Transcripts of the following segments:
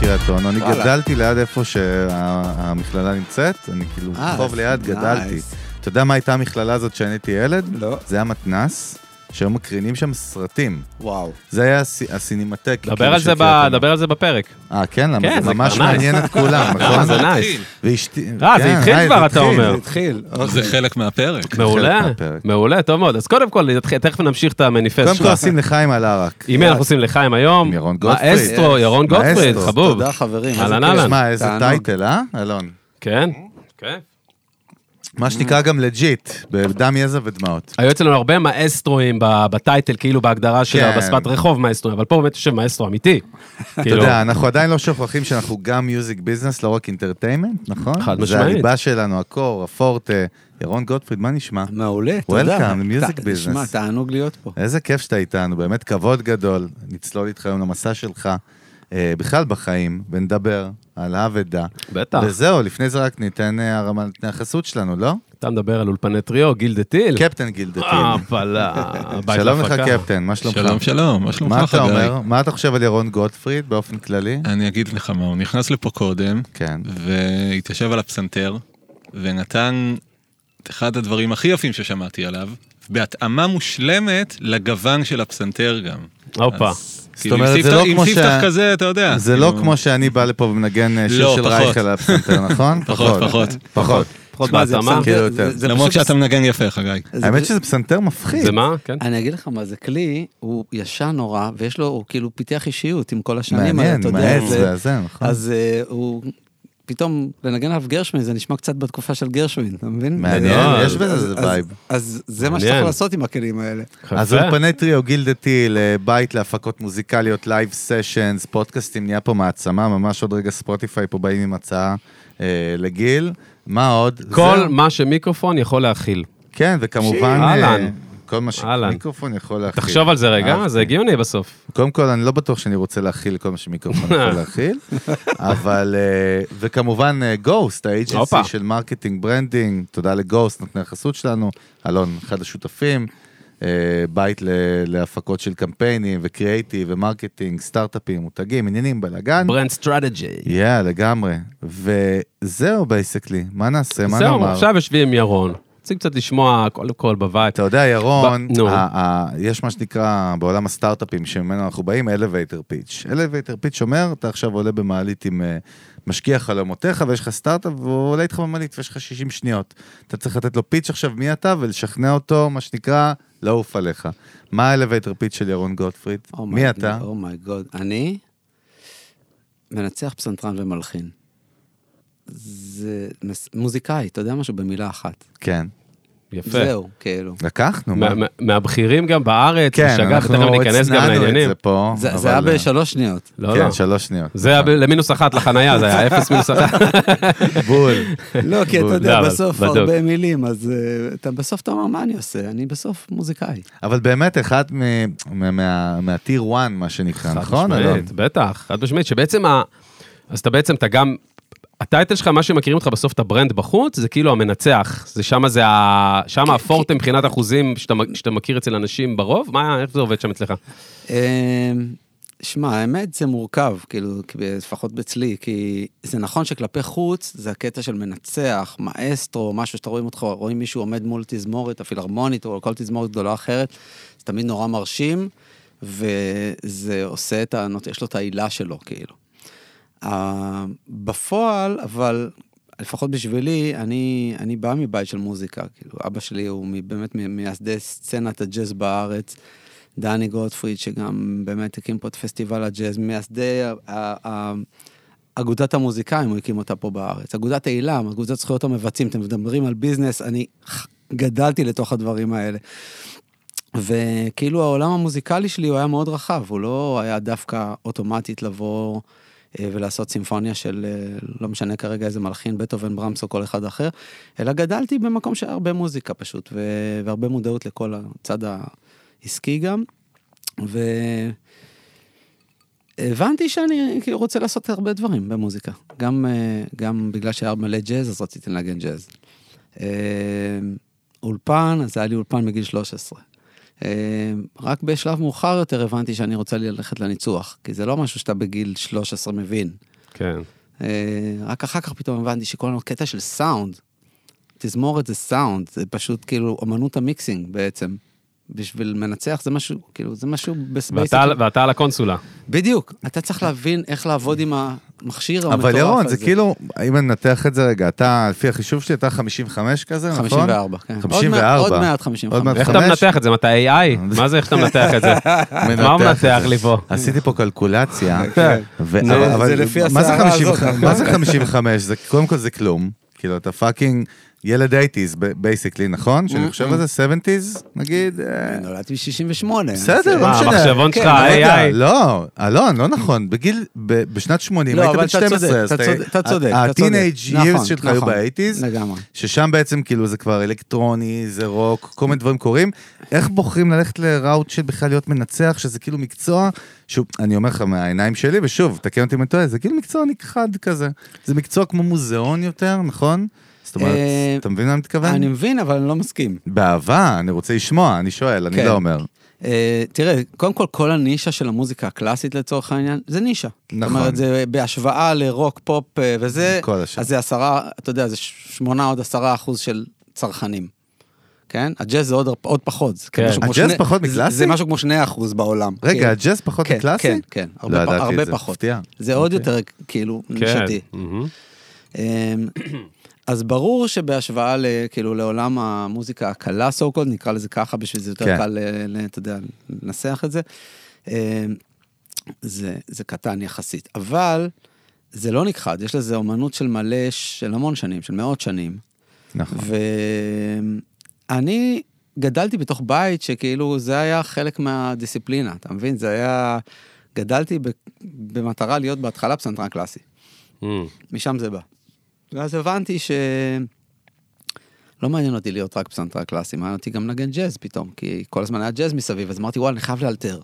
קריית אונו, אני וואלה. גדלתי ליד איפה שהמכללה נמצאת, אני כאילו אה, קרוב ליד נייס. גדלתי. אתה יודע מה הייתה המכללה הזאת כשאני הייתי ילד? לא. זה היה מתנ"ס, שהיו מקרינים שם סרטים. וואו. זה היה הסי- הסינמטק. דבר כאילו, על של זה קריית ב- אונו. דבר על זה בפרק. אה, כן? למה? כן, זה זה ממש כבר נייס. מעניין את כולם, אה, נכון? זה נייס. התחיל. ואשתי... אה, זה כן, התחיל היי, כבר, זה אתה התחיל. אומר. זה התחיל. זה אוקיי. חלק מהפרק. מעולה, מהפרק. מעולה, טוב מאוד. אז קודם כל, נתחיל- תכף נמשיך את המניפסט קודם כל שלך. עושים לחיים על אה, ערק. עם מי אנחנו עושים לחיים היום? עם ירון גוטפריד. מאסטרו, ירון גוטפריד, מאסטרו, חבוב. תודה חברים. איזה אהלן, כיף. אהלן. שמע, איזה תענוג. טייטל, אה, אלון? כן? כן. מה Mm. שנקרא גם לג'יט, בדם, יזע ודמעות. היו אצלנו הרבה מאסטרואים ב- בטייטל, כאילו בהגדרה שלה, כן. בשפת רחוב מאסטרואים, אבל פה באמת יושב מאסטרו אמיתי. כאילו, אתה יודע, אנחנו עדיין לא שוכחים שאנחנו גם מיוזיק ביזנס, לא רק אינטרטיימנט, נכון? חד זה משמעית. הליבה שלנו, הקור, הפורטה. ירון גוטפריד, מה נשמע? מעולה, Welcome, תודה. music ת- business. כן. תשמע, תענוג להיות פה. איזה כיף שאתה איתנו, באמת כבוד גדול. נצלול איתך היום למסע שלך, אה, בכלל בחיים, ונדבר על האבדה. בטח. וזהו, לפני זה רק ניתן אה, הרמה, ניתן החסות שלנו, לא? אתה מדבר על אולפני טריו, גיל דה טיל. קפטן גילדטיל. אה, פלה. הבית כן, שלום לך, להפקה. קפטן, מה שלומך? שלום, שלום, מה שלומך מה אתה חגי? אומר? מה אתה חושב על ירון גוטפריד באופן כללי? אני אגיד לך מה, הוא נכנס לפה קודם, כן. והתיישב על הפסנתר, ונתן את אחד הדברים הכי יפים ששמעתי עליו, בהתאמה מושלמת לגוון של הפסנתר גם. הופה. אז, זאת כאילו, עם אומרת, זה ספתח- לא כמו עם ספתח ש- כזה, אתה אה, יודע. זה לא כאילו, כמו שאני בא לפה ומנגן אה, שיר לא, של פחות. רייך על הפסנתר, נכון? פחות, פחות. פחות. פחות תשמע, מה זה אתה אמר? פסנתר, כאילו זה- יותר. זה למרות פשוט- שאתה מנגן יפה, חגי. זה האמת פשוט- שזה פסנתר מפחיד. זה מה? כן. אני אגיד לך מה, זה כלי, הוא ישן נורא, ויש לו, הוא כאילו פיתח אישיות עם כל השנים האלה, מעניין, אתה יודע. מעץ זה- וזה, נכון. אז אה, הוא, פתאום לנגן עליו גרשווין, זה נשמע קצת בתקופה של גרשווין, אתה מבין? מעניין, אז- יש בזה אז- איזה אז- וייב. אז זה מה לא- מעניין. שצריך לעשות עם הכלים האלה. אז יפה. אולפני טריו, גילדתי, לבית להפקות מוזיקליות, לייב סשנס, פודקאסטים, נהיה פה מעצמה, ממש עוד רגע ספוטיפיי פה באים עם הצעה אה, לגיל. מה עוד? כל זהו. מה שמיקרופון יכול להכיל. כן, וכמובן... אה, אהלן. כל מה אהלן. שמיקרופון יכול אה, להכיל. תחשוב על זה רגע, אהבתי. זה הגיוני בסוף. קודם כל, אני לא בטוח שאני רוצה להכיל כל מה שמיקרופון יכול להכיל, אבל, אה, וכמובן, גוסט, האג'נסי הופה. של מרקטינג ברנדינג, תודה לגוסט, נותני החסות שלנו, אלון, אחד השותפים, אה, בית ל- להפקות של קמפיינים וקריאייטיב ומרקטינג, סטארט-אפים, מותגים, עניינים, בלאגן. ברנד סטרטג'י. יאה, לגמרי. וזהו בייסקלי, מה נעשה, מה זהו, נאמר? עכשיו יושבים עם ירון. רוצים קצת לשמוע קודם כל בבית. אתה יודע, ירון, ב- נו. ה- ה- יש מה שנקרא בעולם הסטארט-אפים שממנו אנחנו באים, elevator pitch. elevator pitch אומר, אתה עכשיו עולה במעלית עם אה, משקיע חלומותיך, ויש לך סטארט-אפ, והוא עולה איתך במעלית, ויש לך 60 שניות. אתה צריך לתת לו פיץ' עכשיו מי אתה, ולשכנע אותו, מה שנקרא, לעוף עליך. מה ה-elevator pitch של ירון גוטפריד? Oh Oh מי אתה? אומייגוד. אני מנצח פסנתרן ומלחין. זה מס- מוזיקאי, אתה יודע משהו? במילה אחת. כן. יפה. זהו, כאילו. לקחנו, מה? מה- מה- מהבכירים גם בארץ, כן, בשגה, ותכף אנחנו ניכנס גם הצנענו את לעניינים. זה פה. זה אבל, זה היה אה, בשלוש שניות. לא, לא. כן, שלוש שניות. זה היה ב- למינוס אחת לחנייה, זה היה אפס מינוס אחת. בול. לא, כי אתה בול. לא, יודע, אבל בסוף בדוק. הרבה מילים, אז אה, אתה בסוף אתה אומר, מה אני עושה? אני בסוף מוזיקאי. אבל באמת, אחד מ- מה- מה- מהטיר 1, מה שנקרא, נכון, חד אלון? משמעית, בטח, חד משמעית, שבעצם ה... אז אתה בעצם, אתה גם... הטייטל שלך, מה שמכירים אותך בסוף, את הברנד בחוץ, זה כאילו המנצח. זה שמה זה ה... שמה הפורטה מבחינת אחוזים שאתה, מ- שאתה מכיר אצל אנשים ברוב? מה, איך זה עובד שם אצלך? אמ, שמע, האמת זה מורכב, כאילו, כי- לפחות אצלי, כי זה נכון שכלפי חוץ זה הקטע של מנצח, מאסטרו, משהו שאתה רואים אותך, רואים מישהו עומד מול תזמורת, הפילהרמונית או כל תזמורת גדולה אחרת, זה תמיד נורא מרשים, וזה עושה את ה... נות- יש לו את העילה שלו, כאילו. אה, בפועל, אבל לפחות בשבילי, אני, אני בא מבית של מוזיקה. כאילו, אבא שלי הוא מ- באמת ממייסדי סצנת הג'אז בארץ. דני גוטפריד, שגם באמת הקים פה את פסטיבל הג'אז, מייסדי ה- ה- ה- אגודת המוזיקאים, הוא הקים אותה פה בארץ. אגודת אילם, אגודת זכויות המבצעים, אתם מדברים על ביזנס, אני גדלתי לתוך הדברים האלה. וכאילו העולם המוזיקלי שלי הוא היה מאוד רחב, הוא לא היה דווקא אוטומטית לבוא אה, ולעשות סימפוניה של אה, לא משנה כרגע איזה מלחין, בטהובן, ברמס או כל אחד אחר, אלא גדלתי במקום שהיה הרבה מוזיקה פשוט, ו- והרבה מודעות לכל הצד העסקי גם. והבנתי שאני כאילו רוצה לעשות הרבה דברים במוזיקה. גם, אה, גם בגלל שהיה מלא ג'אז, אז רציתי לנגן ג'אז. אה, אולפן, אז היה לי אולפן מגיל 13. אה, רק בשלב מאוחר יותר הבנתי שאני רוצה ללכת לניצוח, כי זה לא משהו שאתה בגיל 13 מבין. כן. אה, רק אחר כך פתאום הבנתי שכל הקטע של סאונד, תזמורת זה סאונד, זה פשוט כאילו אמנות המיקסינג בעצם. בשביל מנצח זה משהו, כאילו, זה משהו בספייס. ואתה על- ואתה על הקונסולה. בדיוק, אתה צריך להבין איך לעבוד עם המכשיר המטורף הזה. אבל ירון, זה כאילו, אם אני ננתח את זה רגע, אתה, לפי החישוב שלי, אתה 55 כזה, נכון? 54, כן. עוד מעט- 54. עוד מעט 55. עוד מעט איך אתה חמש? מנתח את זה? אתה AI? מה זה איך אתה מנתח את זה? אה, מה הוא מנתח לי פה? עשיתי פה קלקולציה. כן. ו- זה- אבל- זה אבל לפי מה זה הסערה 55? הזאת, מה זה 55? זה- קודם כל זה כלום. כאילו, אתה פאקינג ילד 80's, בייסיקלי, נכון? שאני חושב על זה 70's, נגיד... אה, נולדתי ב-68. בסדר, לא מה, משנה. המחשבון כן, שלך, לא יודע, AI. לא, אלון, לא נכון. בגיל, ב- בשנת 80, לא, היית אבל בן אתה 12. צודק, אז אתה צודק, אתה צודק. הטינג' נכון, years שלך היו נכון, ב-80's, לגמרי. ששם בעצם כאילו זה כבר אלקטרוני, זה רוק, כל מיני דברים קורים. איך בוחרים ללכת לראוט של בכלל להיות מנצח, שזה כאילו מקצוע, שוב, אני אומר לך מהעיניים שלי, ושוב, תקן אותי אם אני טועה, זה כאילו מקצוע נכחד כזה. זה מקצוע כמו מוזיאון יותר, נכון? זאת אומרת, אה, אתה מבין למה אני מתכוון? אני מבין, אבל אני לא מסכים. באהבה, אני רוצה לשמוע, אני שואל, אני כן. לא אומר. אה, תראה, קודם כל, כל הנישה של המוזיקה הקלאסית לצורך העניין, זה נישה. נכון. זאת אומרת, זה בהשוואה לרוק, פופ אה, וזה, כל השאר. אז זה עשרה, אתה יודע, זה ש- שמונה עוד עשרה אחוז של צרכנים. כן? הג'אז זה עוד, עוד פחות. זה כן. משהו כמו הג'אז שני- פחות זה- מקלאסי? זה משהו כמו שני אחוז בעולם. רגע, כן. הג'אז פחות כן, מקלאסי? לא כן, כן, הרבה, ידעתי פ- את הרבה זה, פחות. מפתיע. זה עוד יותר, כאילו, אוקיי. כן. נישתי. מהמם. אמ, אז ברור שבהשוואה ל- כאילו לעולם המוזיקה הקלה, so called, נקרא לזה ככה, בשביל זה יותר כן. קל, אה, ל- ל- אתה יודע, לנסח את זה, אמ, זה, זה קטן יחסית. אבל זה לא נכחד, יש לזה אומנות של מלא, של המון שנים, של מאות שנים. נכון. ואני גדלתי בתוך בית שכאילו זה היה חלק מהדיסציפלינה, אתה מבין? זה היה... גדלתי ב... במטרה להיות בהתחלה פסנתרן קלאסי. מהמם. משם זה בא. ואז הבנתי ש... לא מעניין אותי להיות רק פסנתר קלאסי, מעניין אותי גם לנגן ג'אז פתאום, כי כל הזמן היה ג'אז מסביב, אז אמרתי, וואי, אני חייב לאלתר.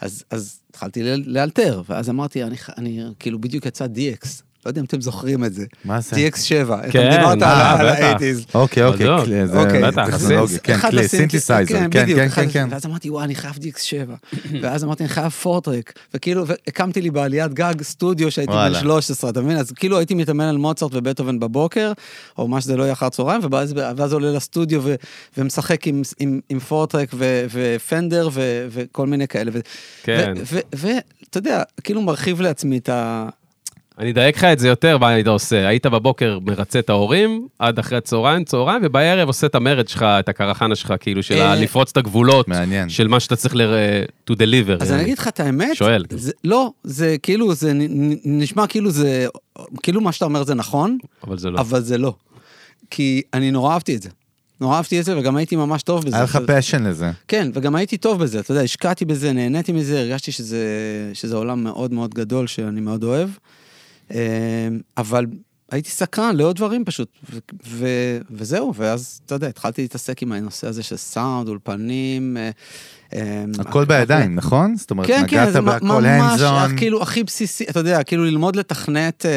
אז, אז התחלתי ל- לאלתר, ואז אמרתי, אני, ח- אני כאילו בדיוק יצא DX, לא יודע אם אתם זוכרים את זה. מה זה? DX7, כן, אתה דיברת על אה, ה- על בטח. ה-80's. אוקיי, אוקיי, בדיוק. כלי- זה אוקיי. בטח, טכנולוגיה, הסינס. כן, אחד כלי, לסינט- סינתסייזר, כן, בדיוק, כן, אחד כן, לסינט- כן. ואז אמרתי, וואי, אני חייב DX7. ואז אמרתי, אני חייב פורטרק. וכאילו, הקמתי לי בעליית גג סטודיו שהייתי בן וואלה. 13, אתה מבין? אז כאילו הייתי מתאמן על מוצרט ובטהובן בבוקר, או מה שזה לא יהיה אחר צהריים, ואז, ואז עולה לסטודיו ו, ומשחק עם, עם, עם פורטרק ו, ופנדר ו, וכל מיני כאלה. ו, כן. ואתה יודע, כאילו מרחיב לעצמי את ה... אני אדייק לך את זה יותר, מה היית עושה? היית בבוקר מרצה את ההורים, עד אחרי צהריים, צהריים, ובערב עושה את המרד שלך, את הקרחנה שלך, כאילו, של אה, ה- לפרוץ את הגבולות, מעניין. של מה שאתה צריך ל- to deliver. אז אני אגיד לך את האמת, שואל. זה, לא, זה כאילו, זה נ- נ- נשמע כאילו זה, כאילו מה שאתה אומר זה נכון, אבל זה לא. אבל זה לא. כי אני נורא אהבתי את זה. נורא אהבתי את זה, וגם הייתי ממש טוב בזה. היה לך זה- פשן לזה. כן, וגם הייתי טוב בזה, אתה יודע, השקעתי בזה, נהניתי מזה, הרגשתי שזה, שזה עולם מאוד מאוד גדול שאני מאוד אוהב. אמ, אבל הייתי סקרן לעוד דברים פשוט, ו- ו- וזהו, ואז, אתה יודע, התחלתי להתעסק עם הנושא הזה של סאונד, אולפנים. אה, אמ, הכל בידיים, נכון? זאת אומרת, כן, כן, נגעת זה מ- בהכל ממש, אך, hands on. כאילו, הכי בסיסי, אתה יודע, כאילו ללמוד לתכנת אה,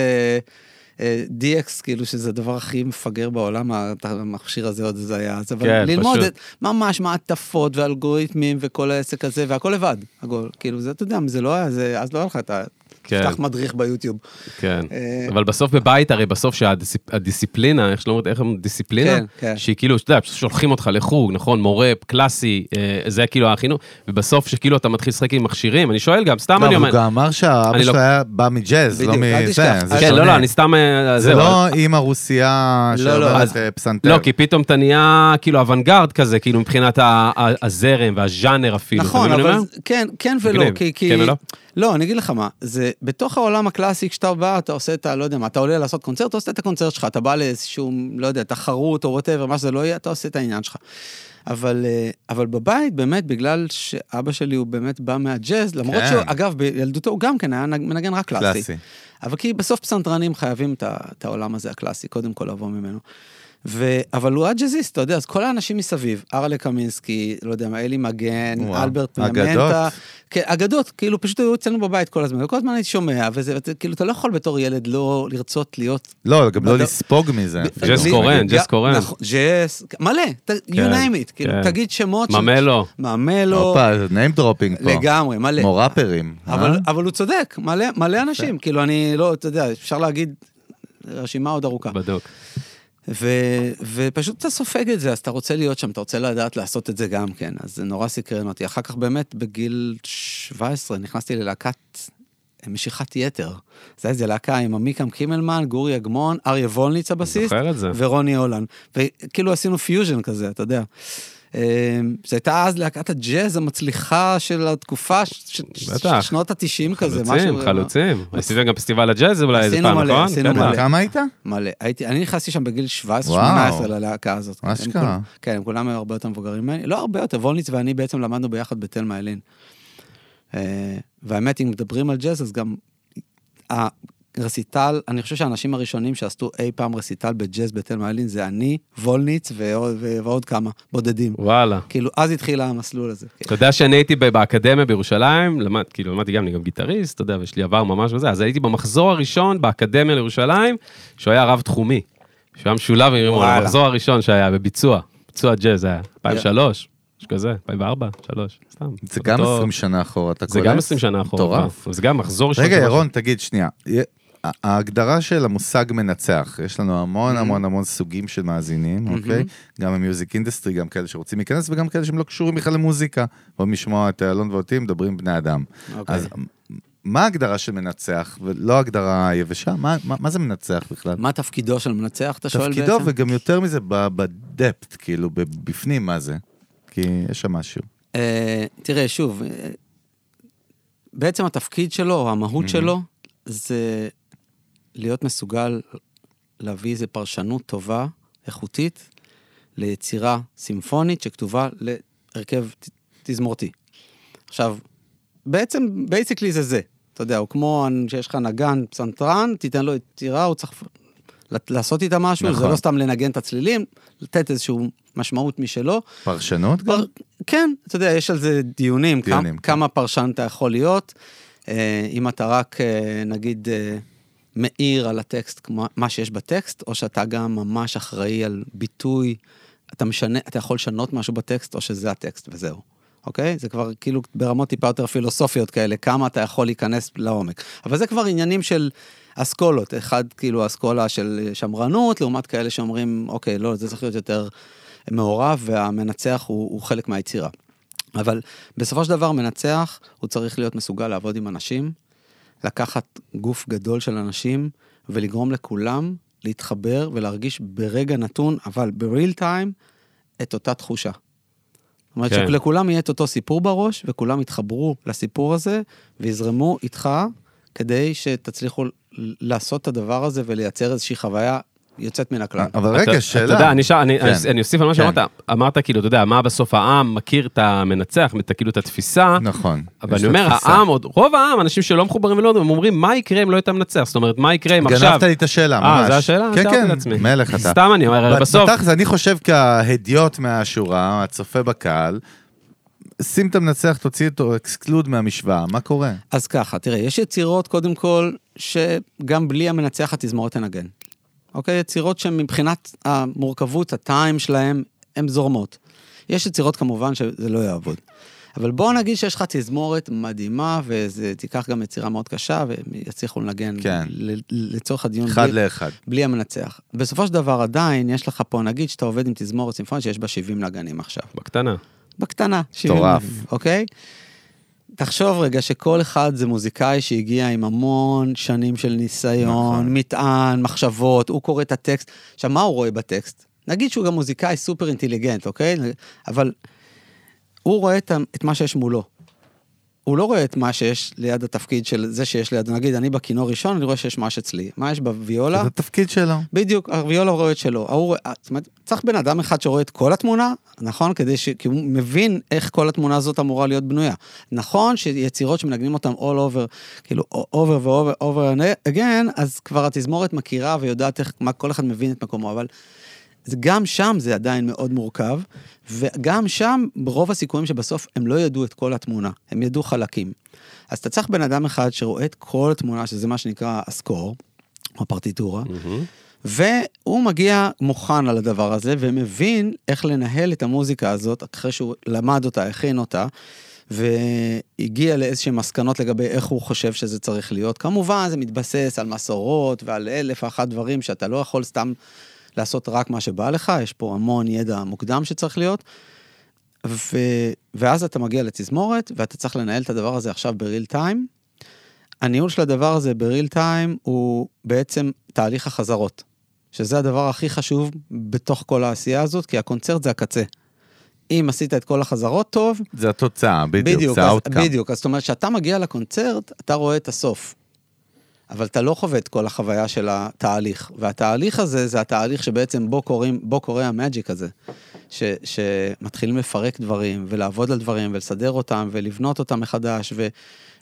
אה, DX, כאילו שזה הדבר הכי מפגר בעולם, הת- המכשיר הזה עוד זה היה אז, אבל כן, ללמוד פשוט. את, ממש מעטפות ואלגוריתמים וכל העסק הזה, והכל לבד, הכל, כאילו, זה, אתה יודע, זה לא היה, זה, אז לא היה לך את ה... כן. תפתח מדריך ביוטיוב. כן, אה, אבל בסוף בבית, הרי בסוף שהדיסציפלינה, איך שלא אומרת, איך אומרים דיסציפלינה? כן, כן. שהיא כאילו, אתה יודע, שולחים אותך לחוג, נכון, מורה, קלאסי, אה, זה כאילו החינוך, ובסוף שכאילו אתה מתחיל לשחק עם מכשירים, אני שואל גם, סתם לא, אני אבל הוא אומר, גם אמר שהאבא אני שלו לא- היה בא מג'אז, לא בדיוק, אל מזה, תשכח. זה כן, לא, לא, שונה. אני סתם, אה, זה זהו, לא אימא רוסייה לא, לא, שאומרת אז- אה, פסנתר. לא, כי פתאום אתה נהיה כאילו אוונגרד כזה, כאילו מבחינת ה- ה- הזרם והז'אנר אפילו. כאילו, אתה נכון, מבין מה אני אבל אומר? זה- כן, כן ולא, מגניב. כי... כי- כן ולא? לא, אני אגיד לך מה, זה בתוך העולם הקלאסי, כשאתה בא, אתה עושה את ה... לא יודע מה, אתה עולה לעשות קונצרט, אתה עושה את הקונצרט שלך, אתה בא לאיזשהו, לא יודע, תחרות או וואטאבר, מה שזה לא יהיה, אתה עושה את העניין שלך. אבל, אה, אבל בבית, באמת, בגלל שאבא שלי הוא באמת בא מהג'אז, למרות כן. שהוא, אגב, בילדותו הוא גם כן היה נג- מנגן רק קלאסי. קלאסי. אבל כי בסוף פסנתרנים חייבים את ה- את העולם הזה הקלאסי, קודם כל לבוא ממנו. ו... אבל הוא הג'אזיסט, אתה יודע, אז כל האנשים מסביב, ארלה קמינסקי, לא יודע מה, אלי מגן, וואו, אלברט אגדות. פלמנטה. כן, אגדות, כאילו פשוט היו אצלנו בבית כל הזמן, וכל הזמן הייתי שומע, וזה, ואתה- כאילו, אתה לא יכול בתור ילד לא לרצות להיות... לא, גם לא בד- לספוג מזה. אפילו. כן, ג'ס קורן, ג'ס יא- קורן. נכון, ג'ס, מלא, ת- you כן, name it, כאילו, כן. תגיד שמות. של- ממלו. ממלו, הופה, name dropping פה. לא. לגמרי, מלא. כמו ראפרים. אבל, אה? אבל הוא צודק, מלא, מלא אנשים, כאילו אני לא, אתה יודע, אפשר להגיד, רשימה עוד ארוכה. בדוק. ו, ופשוט אתה סופג את זה, אז אתה רוצה להיות שם, אתה רוצה לדעת לעשות את זה גם כן, אז זה נורא סקרן אותי. אחר כך באמת, בגיל 17 נכנסתי ללהקת אה, משיכת יתר. זה היה איזה להקה עם עמיקם קימלמן, גורי אגמון, אריה וולניץ הבסיסט, זוכר את זה. ורוני הולן. וכאילו עשינו פיוז'ן כזה, אתה יודע. אמ, זו הייתה אז להקת הג'אז המצליחה של התקופה, ש- ש- בטח. של שנות ה-90 כזה, חלוצים, חלוצים. עשיתם גם פסטיבל הג'אז אולי איזה עשינו פעם, מלא, נכון? עשינו בטח. בן מלא. כמה היית? מלא. הייתי, אני נכנסתי שם בגיל 17-18 וואו. ללהקה הזאת. מה הם שקרה? כולם- כן, הם כולם היו הרבה יותר מבוגרים ממני. לא הרבה יותר, וולניץ ואני בעצם למדנו ביחד בתל מאלין. אה, והאמת, אם מדברים על ג'אז, אז גם הרסיטל, אני חושב שהאנשים הראשונים שעשו אי פעם רסיטל בג'אז בתל מאלין זה אני, וולניץ ועוד, ועוד כמה, בודדים. אוקיי. וואלה. כאילו, אז התחיל המסלול הזה. כן. אתה יודע שאני הייתי ב- באקדמיה בירושלים, למד, כאילו למדתי גם, אני גם גיטריסט, אתה יודע, ויש לי עבר ממש וזה, אז הייתי במחזור הראשון באקדמיה לירושלים, שהוא היה רב-תחומי. שהוא היה משולב עם רימון, וואלה. המחזור הראשון שהיה בביצוע, ביצוע ג'אז היה, 2003, משהו כזה, 2004, 2003, סתם. זה גם אותו- 20 שנה אחורה, אתה זה קולט? גם 20 שנה אחורה. מטורף. כבר. זה גם מחזור ראשון. רגע, של- ירון, תגיד, שנייה. יה- ההגדרה של המושג מנצח, יש לנו המון המון המון סוגים של מאזינים, אוקיי? גם במיוזיק אינדסטרי, גם כאלה שרוצים להיכנס וגם כאלה שהם לא קשורים בכלל למוזיקה. אוהבים לשמוע את אלון ואותי מדברים בני אדם. אוקיי. אז מה ההגדרה של מנצח, ולא ההגדרה היבשה? מה- מה מה זה מנצח בכלל? מה תפקידו של מנצח, אתה שואל בעצם? תפקידו, וגם יותר מזה, בדפט, כאילו, בפנים מה זה. כי יש שם משהו. אה, תראה, שוב, אה, בעצם התפקיד שלו, או המהות שלו, זה להיות מסוגל להביא איזו פרשנות טובה, איכותית, ליצירה סימפונית שכתובה להרכב ת- תזמורתי. עכשיו, בעצם, בייסיקלי זה זה. אתה יודע, הוא כמו שיש לך נגן, פסנתרן, תיתן לו יצירה, הוא צריך לת- לעשות איתה משהו, זה נכון. לא סתם לנגן את הצלילים, לתת איזושהי משמעות משלו. פרשנות גם? פר... כן, אתה יודע, יש על זה דיונים, דיונים, דיונים כן. כמה, כמה פרשן אתה יכול להיות. אה, אם אתה רק, אה, נגיד, אה, מאיר על הטקסט, כמו- מה שיש בטקסט, או שאתה גם ממש אחראי על ביטוי, אתה משנה, אתה יכול לשנות משהו בטקסט, או שזה הטקסט וזהו. אוקיי? זה כבר כאילו ברמות טיפה יותר פילוסופיות כאלה, כמה אתה יכול להיכנס לעומק. אבל זה כבר עניינים של אסכולות. אחד, כאילו, אסכולה של שמרנות, לעומת כאלה שאומרים, אוקיי, לא, זה צריך להיות יותר מעורב, והמנצח הוא, הוא חלק מהיצירה. אבל בסופו של דבר מנצח, הוא צריך להיות מסוגל לעבוד עם אנשים, לקחת גוף גדול של אנשים ולגרום לכולם להתחבר ולהרגיש ברגע נתון, אבל בריל טיים, את אותה תחושה. זאת אומרת כן. כן. שלכולם יהיה את אותו סיפור בראש, וכולם יתחברו לסיפור הזה ויזרמו איתך כדי שתצליחו ל- לעשות את הדבר הזה ולייצר איזושהי חוויה יוצאת מן הכלל. אבל אתה- רגע, שאלה. אתה יודע, אני, שאל, אני, כן. אני, אני אוסיף על מה כן. שאמרת, אמרת כאילו, אתה יודע, מה בסוף העם מכיר את המנצח, את, כאילו את התפיסה, נכון. אבל יש אני לו אומר, תפיסה. העם, עוד, רוב העם, אנשים שלא מחוברים ולא, יודעים, הם אומרים, מה יקרה אם לא היית מנצח? זאת אומרת, מה יקרה אם עכשיו... גנבת לי את השאלה, ממש. אה, זו השאלה? כן, תיארתי לעצמי. כן, מלך אתה. סתם אני אומר, הרי בת- בסוף... בתכלס, אני חושב כהדיוט מהשורה, הצופה בקהל, שים את המנצח, תוציא אותו אקסקלוד מהמשוואה, מה קורה? אז ככה, תראה, יש יצירות, קודם כל, שגם בלי המנצח התזמורת תנגן. אוקיי? יצירות שמבחינת המורכבות, הטיים שלהם, הן זורמות. יש יצירות כמובן שזה לא יעבוד. אבל בואו נגיד שיש לך תזמורת מדהימה, וזה תיקח גם יצירה מאוד קשה, והם יצליחו לנגן כן. ל- לצורך הדיון. אחד בלי- לאחד. בלי המנצח. בסופו של דבר עדיין יש לך פה, נגיד שאתה עובד עם תזמורת סימפונית שיש בה 70 נגנים עכשיו. בקטנה. בקטנה. מטורף. 70, אוקיי? תחשוב רגע שכל אחד זה מוזיקאי שהגיע עם המון שנים של ניסיון, נכון. נכון. מטען, מחשבות, הוא קורא את הטקסט. עכשיו, מה הוא רואה בטקסט? נגיד שהוא גם מוזיקאי סופר אינטליגנט, אוקיי? אבל הוא רואה את, ה- את מה שיש מולו. הוא לא רואה את מה שיש ליד התפקיד של זה שיש ליד, נגיד, אני בכינור ראשון, אני רואה שיש מה שאצלי. מה יש בוויולה? זה התפקיד שלו. בדיוק, הרביולה רואה את שלו. ההוא רואה- זאת אומרת, צריך בן אדם אחד שרואה את כל התמונה, נכון? כדי ש... כי הוא מבין איך כל התמונה הזאת אמורה להיות בנויה. נכון שיצירות שמנגנים אותן all over, כאילו over ו-over over again, אז כבר התזמורת מכירה ויודעת איך, מה כל אחד מבין את מקומו, אבל אז גם שם זה עדיין מאוד מורכב, וגם שם ברוב הסיכויים שבסוף הם לא ידעו את כל התמונה, הם ידעו חלקים. אז אתה צריך בן אדם אחד שרואה את כל התמונה, שזה מה שנקרא הסקור, או הפרטיטורה, והוא מגיע מוכן על הדבר הזה, ומבין איך לנהל את המוזיקה הזאת, אחרי שהוא למד אותה, הכין אותה, והגיע לאיזשהן מסקנות לגבי איך הוא חושב שזה צריך להיות. כמובן, זה מתבסס על מסורות ועל אלף ואחת דברים שאתה לא יכול סתם לעשות רק מה שבא לך, יש פה המון ידע מוקדם שצריך להיות. ו... ואז אתה מגיע לתזמורת, ואתה צריך לנהל את הדבר הזה עכשיו בריל טיים. הניהול של הדבר הזה בריל טיים הוא בעצם תהליך החזרות, שזה הדבר הכי חשוב בתוך כל העשייה הזאת, כי הקונצרט זה הקצה. אם עשית את כל החזרות טוב, זה התוצאה, בדיוק, בדיוק, זה אז, האוטקאם. בדיוק, אז זאת אומרת, כשאתה מגיע לקונצרט, אתה רואה את הסוף. אבל אתה לא חווה את כל החוויה של התהליך. והתהליך הזה, זה התהליך שבעצם בו, קוראים, בו קורה המאג'יק הזה. ש, שמתחילים לפרק דברים, ולעבוד על דברים, ולסדר אותם, ולבנות אותם מחדש, אה,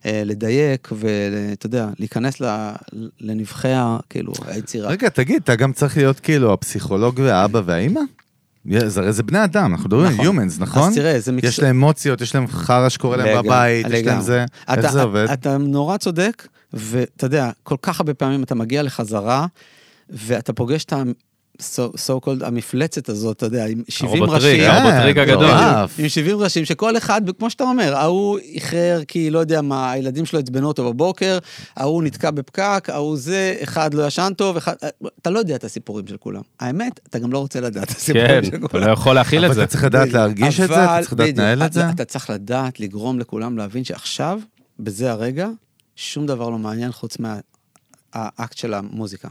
ולדייק, ואתה יודע, להיכנס ל, לנבחי, ה- כאילו, היצירה. רגע, תגיד, אתה גם צריך להיות כאילו הפסיכולוג והאבא והאימא? זה הרי זה בני אדם, אנחנו מדברים על נכון. Humans, נכון? אז תראה, זה מקצוע- יש להם אמוציות, יש להם חרא שקורה להם לגמרי, בבית, יש להם לגמרי. זה... איך אתה- זה עובד? אתה נורא צודק, ואתה יודע, כל כך הרבה פעמים אתה מגיע לחזרה, ואתה פוגש את ה... so called המפלצת הזאת, אתה יודע, עם 70 הרובוטריק, ראשים. אה, הרובוטריק הגדול. מטורף. עם 70 ראשים, שכל אחד, כמו שאתה אומר, ההוא איחר כי לא יודע מה, הילדים שלו עצבנו אותו בבוקר, ההוא נתקע בפקק, ההוא זה, אחד לא ישן טוב, אחד... אתה לא יודע את הסיפורים של כולם. האמת, אתה גם לא רוצה לדעת את כן, הסיפורים של אתה כולם. לא יכול להכיל אבל את זה. אתה צריך לדעת להרגיש את זה, אתה אבל- צריך לדעת בדיוק, לנהל את אתה- זה. אתה צריך לדעת לגרום לכולם להבין שעכשיו, בזה הרגע, שום דבר לא מעניין חוץ מהאקט של המוזיקה.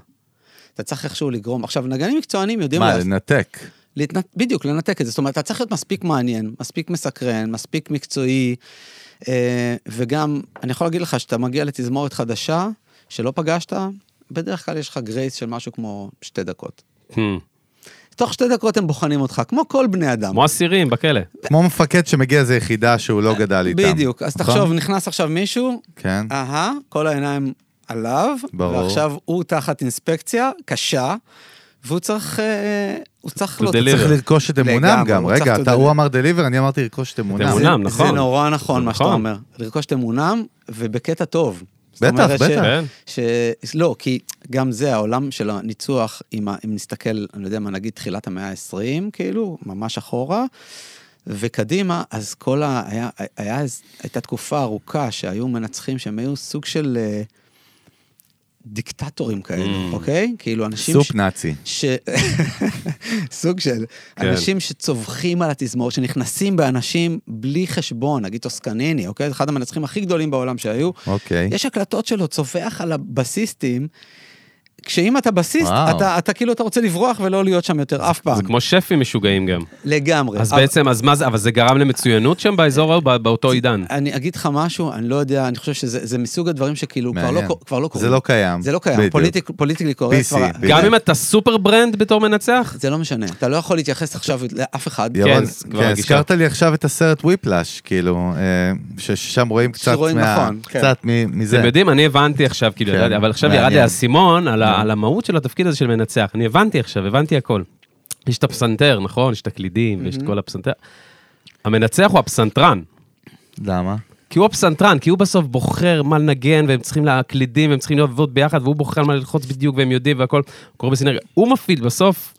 אתה צריך איכשהו לגרום, עכשיו נגנים מקצוענים יודעים מה, לעשות- לנתק? להתנ... בדיוק, לנתק את זה. זאת אומרת, אתה צריך להיות מספיק מעניין, מספיק מסקרן, מספיק מקצועי, אה, וגם, אני יכול להגיד לך, שאתה מגיע לתזמורת חדשה, שלא פגשת, בדרך כלל יש לך גרייס של משהו כמו שתי דקות. Hmm. תוך שתי דקות הם בוחנים אותך, כמו כל בני אדם. כמו אסירים בכלא. כמו מפקד שמגיע איזה יחידה שהוא לא גדל איתם. אה, בדיוק, אז נכון? תחשוב, אה, נכנס עכשיו מישהו, כן. אהה, כל העיניים עליו, ברור. ועכשיו הוא תחת אינספקציה קשה, והוא צריך, אה, הוא צריך... To לא, אתה deliver. צריך צריך- לרכוש את אמונם לגמרי, גם. הוא צריך רגע, אתה- תודה. הוא אמר דליבר, אני אמרתי לרכוש את אמונם. אמונם. זה- נכון. זה נורא נכון מה שאתה נכון. אומר. לרכוש את אמונם, ובקטע טוב. זאת בטח, אומרת ש- בטח. כן. ש... לא, כי גם זה העולם של הניצוח, אם, ה- אם נסתכל, אני לא יודע מה, נגיד תחילת המאה ה-20, כאילו, ממש אחורה, וקדימה, אז כל ה... היה, היה, אז- הייתה תקופה ארוכה שהיו מנצחים שהם היו סוג של אה, דיקטטורים כאלה, אוקיי? כאילו, אנשים... סופ נאצי. ש... סוג של כן. אנשים שצווחים על התזמורת, שנכנסים באנשים בלי חשבון, נגיד טוסקניני, אוקיי? אחד המנצחים הכי גדולים בעולם שהיו. אוקיי. יש הקלטות שלו צווח על הבסיסטים, כשאם אתה בסיסט, וואו. אתה, אתה כאילו אתה רוצה לברוח ולא להיות שם יותר אף פעם. זה כמו שפים משוגעים גם. לגמרי. אז אבל- בעצם, אז מה זה, אבל זה גרם למצוינות שם באזור ההוא, בא- באותו עידן. אה, אני אגיד לך משהו, אני לא יודע, אני חושב שזה זה מסוג הדברים שכאילו כבר לא, מעניין. קור- כבר לא קורים. זה לא קיים. זה לא קיים. בדיוק. פוליטיק, פוליטיקלי קורקט PC, כבר... בדיוק. גם אם אתה סופר ברנד בתור מנצח? זה לא משנה, אתה לא יכול להתייחס עכשיו לאף אחד. ירון, זה כבר כן, הגישה. הזכרת לי עכשיו את הסרט וויפלאש, כאילו, אה, ששם רואים קצת שרואים מה... נכון, כן. קצת מ- מזה. אתם יודעים, אני הבנתי עכשיו, כאילו, כן, ידעתי, אבל עכשיו מעניין. ירד לי האסימון על כן. ה- על המהות של התפקיד הזה של מנצח. אני הבנתי עכשיו, הבנתי הכל. יש את הפסנתר, נכון? יש את הקלידים, ויש את כל הפסנתר. המנצח הוא הפסנתרן. למה? כי הוא הפסנתרן, כי הוא בסוף בוחר מה לנגן, והם צריכים להקלידים, והם צריכים לעבוד ביחד, והוא בוחר על מה ללחוץ בדיוק, והם יודעים, והכל קורה בסינרגיה. הוא מפעיל בסוף,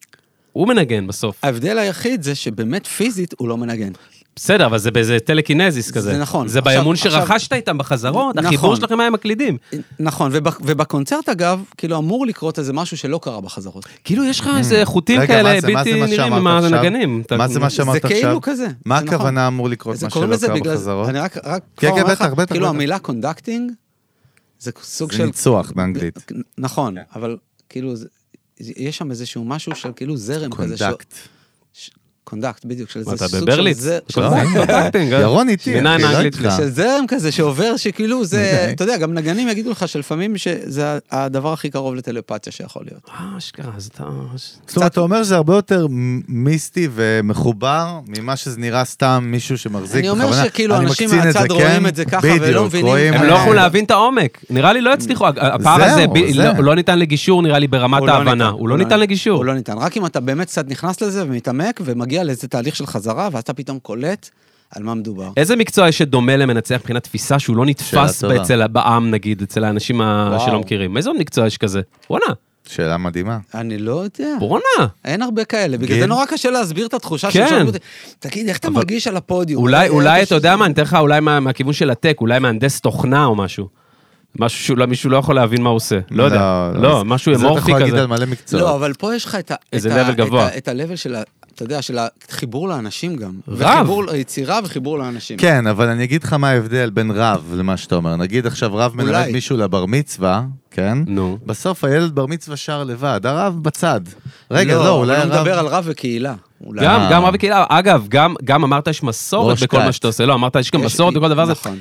הוא מנגן בסוף. ההבדל היחיד זה שבאמת פיזית הוא לא מנגן. בסדר, אבל זה באיזה טלקינזיס כזה. נכון. זה עכשיו- באמון עכשיו- שרכשת איתם בחזרות, נכון. החיבור שלכם היה עם הקלידים. נכון, ובק- ובקונצרט אגב, כאילו אמור לקרות איזה משהו שלא קרה בחזרות. כאילו, יש לך איזה חוטים Mm. רגע, כאלה מה זה- מה זה בלתי מה נראים שאמרת עם עכשיו? הנגנים. אתה- מה זה מה שאמרת זה עכשיו? כאילו כזה, מה זה נכון. הכוונה אמור לקרות, מה זה שלא קוראים לזה קרה בגלל בחזרות? זה, אני רק, רק כן, כבר כן, אומר בטח, בטח, לך, כאילו בטח. המילה קונדקטינג, זה סוג זה של... ניצוח באנגלית. נכון, אבל כאילו, זה- יש שם איזשהו משהו של כאילו זרם כזה. ש- קונדקט. ש- קונדקט, בדיוק, של מה, איזה אתה סוג של בברליץ? זר- של לא, זרם. אין קונטקטינג, אה? ירון איתי, שיניים אחי, לא האנגלית איתך. של זרם כזה שעובר, שכאילו זה, אוקיי. אתה יודע, גם נגנים יגידו לך שלפעמים שזה הדבר הכי קרוב לטלפתיה שיכול להיות. אה, אשכרה, אז אתה... זאת אומרת, אתה אומר שזה הרבה יותר מ- מיסטי ומחובר ממה שזה נראה סתם מישהו שמחזיק אני אומר בכוונה. שכאילו, אני אנשים מקצין את זה, מהצד רואים כן, את זה ככה ולא בדיוק, מבינים. רואים, הם אה, לא אה, יכלו להבין את העומק. נראה לי לא הצליחו, הפער זהו, הזה ב- זה. לא- לא ניתן לגישור, נראה לי, ברמת הוא לא ההבנה. ניתן, הוא לא ניתן לגישור. הוא לא ניתן, רק אם אתה באמת קצת נכנס לזה ומתעמק ומגיע לאיזה תהליך של חזרה, ואז אתה פתאום קולט על מה מדובר. איזה מקצוע יש שדומה למנצח מבחינת תפיסה שהוא לא נתפס שאלה טובה. אצל בעם, נגיד, אצל האנשים ה- וואו. שלא מכירים? איזה עוד מקצוע יש כזה? בואנה, שאלה מדהימה. אני לא יודע. בואנה. אין הרבה כאלה, בגלל גיל? זה נורא קשה להסביר את התחושה כן. של שרבוט. תגיד, איך אתה מרגיש על הפודיום? אולי, איך אולי, אתה שזה- יודע מה, אני אתן לך אולי מה- מהכיוון של הטק, אולי מהנדס תוכנה או משהו. משהו שמישהו לא יכול להבין מה הוא עושה. לא יודע. לא, משהו זה אתה אמורפי יכול להגיד כזה. על מלא מקצועות. לא, אבל פה יש לך את ה... איזה את ה- level את גבוה. ה- את ה-level של ה... אתה יודע, של החיבור לאנשים גם. רב. וחיבור ליצירה וחיבור לאנשים. כן, אבל אני אגיד לך מה ההבדל בין רב למה שאתה אומר. נגיד עכשיו רב מלמד אולי. מישהו לבר מצווה, כן? נו. בסוף הילד בר מצווה שר לבד, הרב בצד. רגע, לא, לא, אולי הוא הרב... מדבר על רב וקהילה. אולי. גם, אה. גם רב וקהילה, אגב, גם, גם אמרת יש מסורת ראש בכל מה כת. שאתה עושה, לא, אמרת יש גם יש- מסורת בכל דבר הזה. נכון.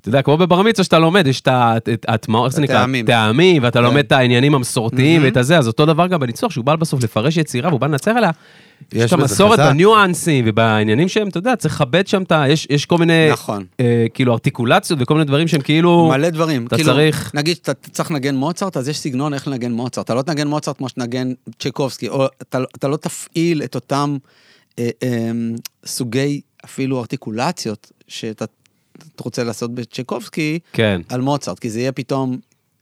אתה יודע, כמו בבר מצווה שאתה לומד, יש את ההטמעות, איך זה נקרא? הטעמים. טעמים, ואתה לומד כן. Mm-hmm. את העניינים המסורתיים ואת הזה, אז אותו דבר גם בניצוח, שהוא בא בסוף לפרש יצירה והוא בא לנצח עליה. יש יש את בזה המסורת חזק. בניואנסים ובעניינים שהם, אתה יודע, צריך לכבד שם את ה... יש- יש כל מיני, נכון. אה, כאילו, ארטיקולציות וכל מיני דברים שהם כאילו... מלא דברים. אתה כאילו, צריך- נגיד שאתה צריך לנגן מוצרט, אז יש סגנון איך לנגן מוצרט. אתה לא תנגן מוצרט כמו שתנגן צ'קובסקי, או אתה, אתה לא תפעיל את אותם אה, אה, סוגי אפילו ארטיקולציות שאתה אתה רוצה לעשות בצ'קובסקי כן, על מוצרט, כי זה יהיה פתאום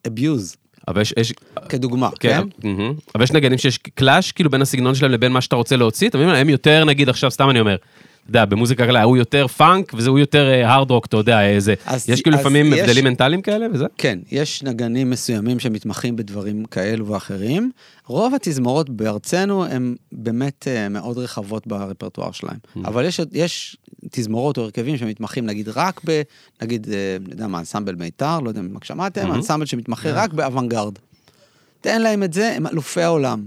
abuse, אבל יש... יש- כדוגמה, כן, כן? מהמם. אבל יש נגנים שיש קלאש, כאילו, בין הסגנון שלהם לבין מה שאתה רוצה להוציא, אתה מבין? הם יותר, נגיד, עכשיו, סתם אני אומר, אתה יודע, במוזיקה קלה, הוא יותר פאנק, וזה הוא יותר הארד רוק, אתה יודע, איזה... אז- יש כאילו אז לפעמים יש- הבדלים מנטליים כאלה וזה? כן, יש נגנים מסוימים שמתמחים בדברים כאלו ואחרים. רוב התזמורות בארצנו הן באמת אה, מאוד רחבות ברפרטואר שלהם. Mm-hmm. אבל יש, יש תזמורות או הרכבים שמתמחים נגיד רק ב... נגיד, אה, אני יודע מה, אנסמבל מיתר, לא יודע אם שמעתם, Mm-hmm. אנסמבל שמתמחה רק באוונגרד. תן להם את זה, הם אלופי העולם.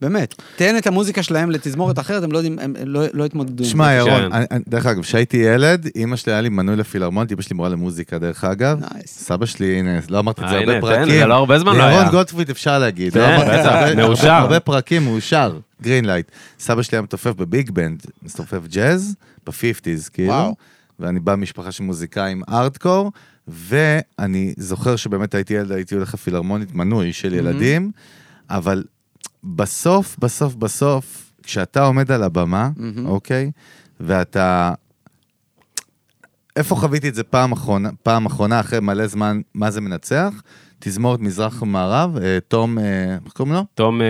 באמת. תן את המוזיקה שלהם לתזמורת אחרת, הם לא יודעים, הם לא, לא יתמודדו עם זה. שמע, כן. ירון, אני- אני- דרך אגב, כשהייתי ילד, אימא שלי היה לי מנוי לפילהרמונית, אימא שלי מורה למוזיקה, דרך אגב. נייס. סבא שלי, הנה, לא אמרתי את זה אה, הרבה הנה, תן, פרקים. זה לא הרבה זמן לא היה. לירון גוטפריד אפשר להגיד. לא כן, אמרתי את זה בטח, הרבה- הרבה- מאושר. הרבה פרקים, מאושר, גרינלייט. סבא שלי היה מתופף בביג בנד, מתופף ג'אז, בפיפטיז, כאילו. וואו. ואני בא ממשפחה של מוזיקאים ארדקור, ואני זוכר שבאמת הייתי ילד, הייתי הולך לפילהרמונית מנוי של ילדים, אבל בסוף, בסוף, בסוף, כשאתה עומד על הבמה, אוקיי, ואתה... איפה חוויתי את זה פעם אחרונה, פעם אחרונה אחרי מלא זמן, מה זה מנצח? תזמורת מזרח ומערב, אה, תום, אה, איך קוראים לו? תום... אה,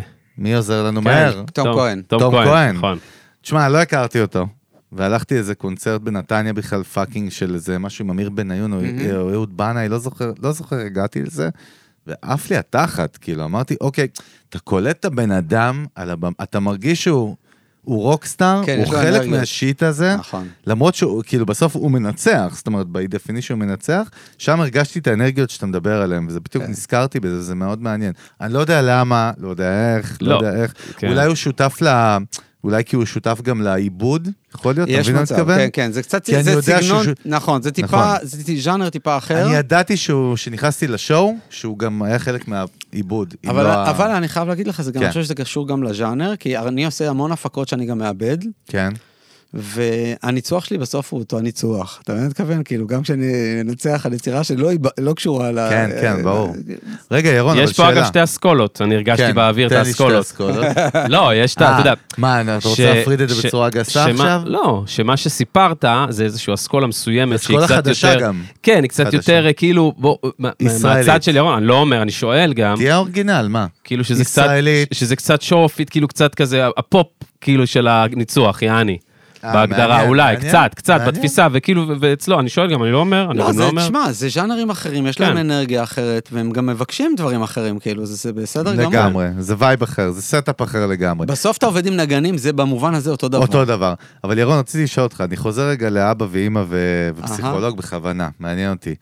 כן, מי עוזר כן. לנו מהר? תום כהן. תום תום כהן, כהן. נכון. תשמע, לא הכרתי אותו. והלכתי איזה קונצרט בנתניה בכלל פאקינג של איזה משהו עם אמיר בניון או Mm-hmm. או אהוד בנאי, לא זוכר, לא זוכר, הגעתי לזה. ועף לי התחת, כאילו, אמרתי, אוקיי, אתה קולט את הבן אדם על הבמה, אתה מרגיש שהוא הוא רוקסטאר, כן, הוא יש לו חלק אנרגיות. מהשיט הזה, נכון. למרות שהוא, כאילו, בסוף הוא מנצח, זאת אומרת, by definition הוא מנצח, שם הרגשתי את האנרגיות שאתה מדבר עליהן, וזה כן. בדיוק נזכרתי בזה, זה מאוד מעניין. אני לא יודע למה, לא יודע איך, לא לא. יודע איך, כן. אולי הוא שותף ל... אולי כי הוא שותף גם לעיבוד, יכול להיות, אתה יש מבין מה אני מצב, מתכוון? כן, כן, זה קצת, כי אני זה יודע סגנון, שהוא- נכון, זה טיפה, נכון. זה טיפ- ז'אנר טיפה אחר, אני ידעתי שהוא, שנכנסתי לשואו, שהוא גם היה חלק מהעיבוד. אם אבל, לא לא ה- אבל אני חייב להגיד לך, זה גם, כן. אני חושב שזה קשור גם לז'אנר, כי אני עושה המון הפקות שאני גם מאבד, כן. והניצוח שלי בסוף הוא אותו הניצוח. אתה מבין מה אני מתכוון? כאילו, גם כשאני אנצח על יצירה שלא היב- לא קשורה ל... אה, כן, כן, ברור. רגע, ירון, נכון, אבל יש שאלה. פה אגב שתי אסכולות, אני הרגשתי כן, באוויר את תן לי שתי האסכולות. אסכולות. לא, יש את ה... אתה יודע... אה, מה, אתה ש- רוצה להפריד את זה ש- בצורה גסה שמה- עכשיו? לא, שמה שסיפרת זה איזושהי אסכולה מסוימת שהיא אסכולה קצת יותר... חדשה גם. כן, היא קצת חדשה. יותר אה, כאילו... בוא, מה- ישראלית. מהצד של ירון, אני לא אומר, אני שואל גם. תהיה אורגינל, מה? כאילו שזה קצת... ישראלית. שזה קצת שורפית, כאילו קצת כזה הפופ, כאילו של הניצוח, יעני. אה, בהגדרה, מעניין, אולי, מעניין, קצת, קצת, מעניין. בתפיסה, וכאילו, ו- ואצלו, אני שואל גם, אני לא אומר, אני לא, גם זה, לא אומר. תשמע, זה ז'אנרים אחרים, יש להם כן. אנרגיה אחרת, והם גם מבקשים דברים אחרים, כאילו, זה, זה בסדר גמור. לגמרי, זה וייב אחר, זה סטאפ אחר לגמרי. בסוף אתה עובד עם נגנים, זה במובן הזה אותו דבר. אותו דבר. אבל ירון, רציתי לשאול אותך, אני חוזר רגע לאבא ואימא ו- ופסיכולוג בכוונה, מעניין אותי.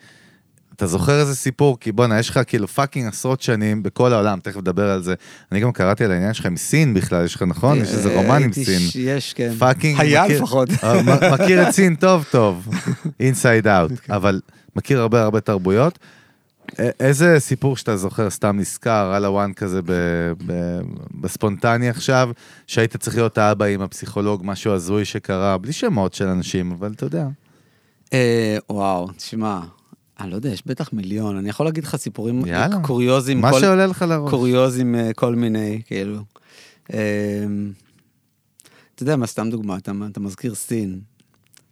אתה זוכר איזה סיפור? כי בואנה, יש לך כאילו פאקינג עשרות שנים בכל העולם, תכף נדבר על זה. אני גם קראתי על העניין שלך עם סין בכלל, יש לך, נכון? יש איזה רומן עם אה, הייתי סין. ש- יש, כן. פאקינג... היה מכיר- לפחות. אה, מ- מכיר את סין טוב טוב, אינסייד אאוט, כן. אבל מכיר הרבה הרבה תרבויות. א- איזה סיפור שאתה זוכר סתם נזכר על הוואן כזה ב- ב- בספונטני עכשיו, שהיית צריך להיות האבא עם הפסיכולוג, משהו הזוי שקרה, בלי שמות של אנשים, אבל אתה יודע. אה, וואו, תשמע, אני לא יודע, יש בטח מיליון, אני יכול להגיד לך סיפורים יאללה. אה, קוריוזים, מה כל- שעולה לך לראש. קוריוזים אה, כל מיני, כאילו. אה, אתה יודע מה, סתם דוגמה, אתה, אתה מזכיר סין.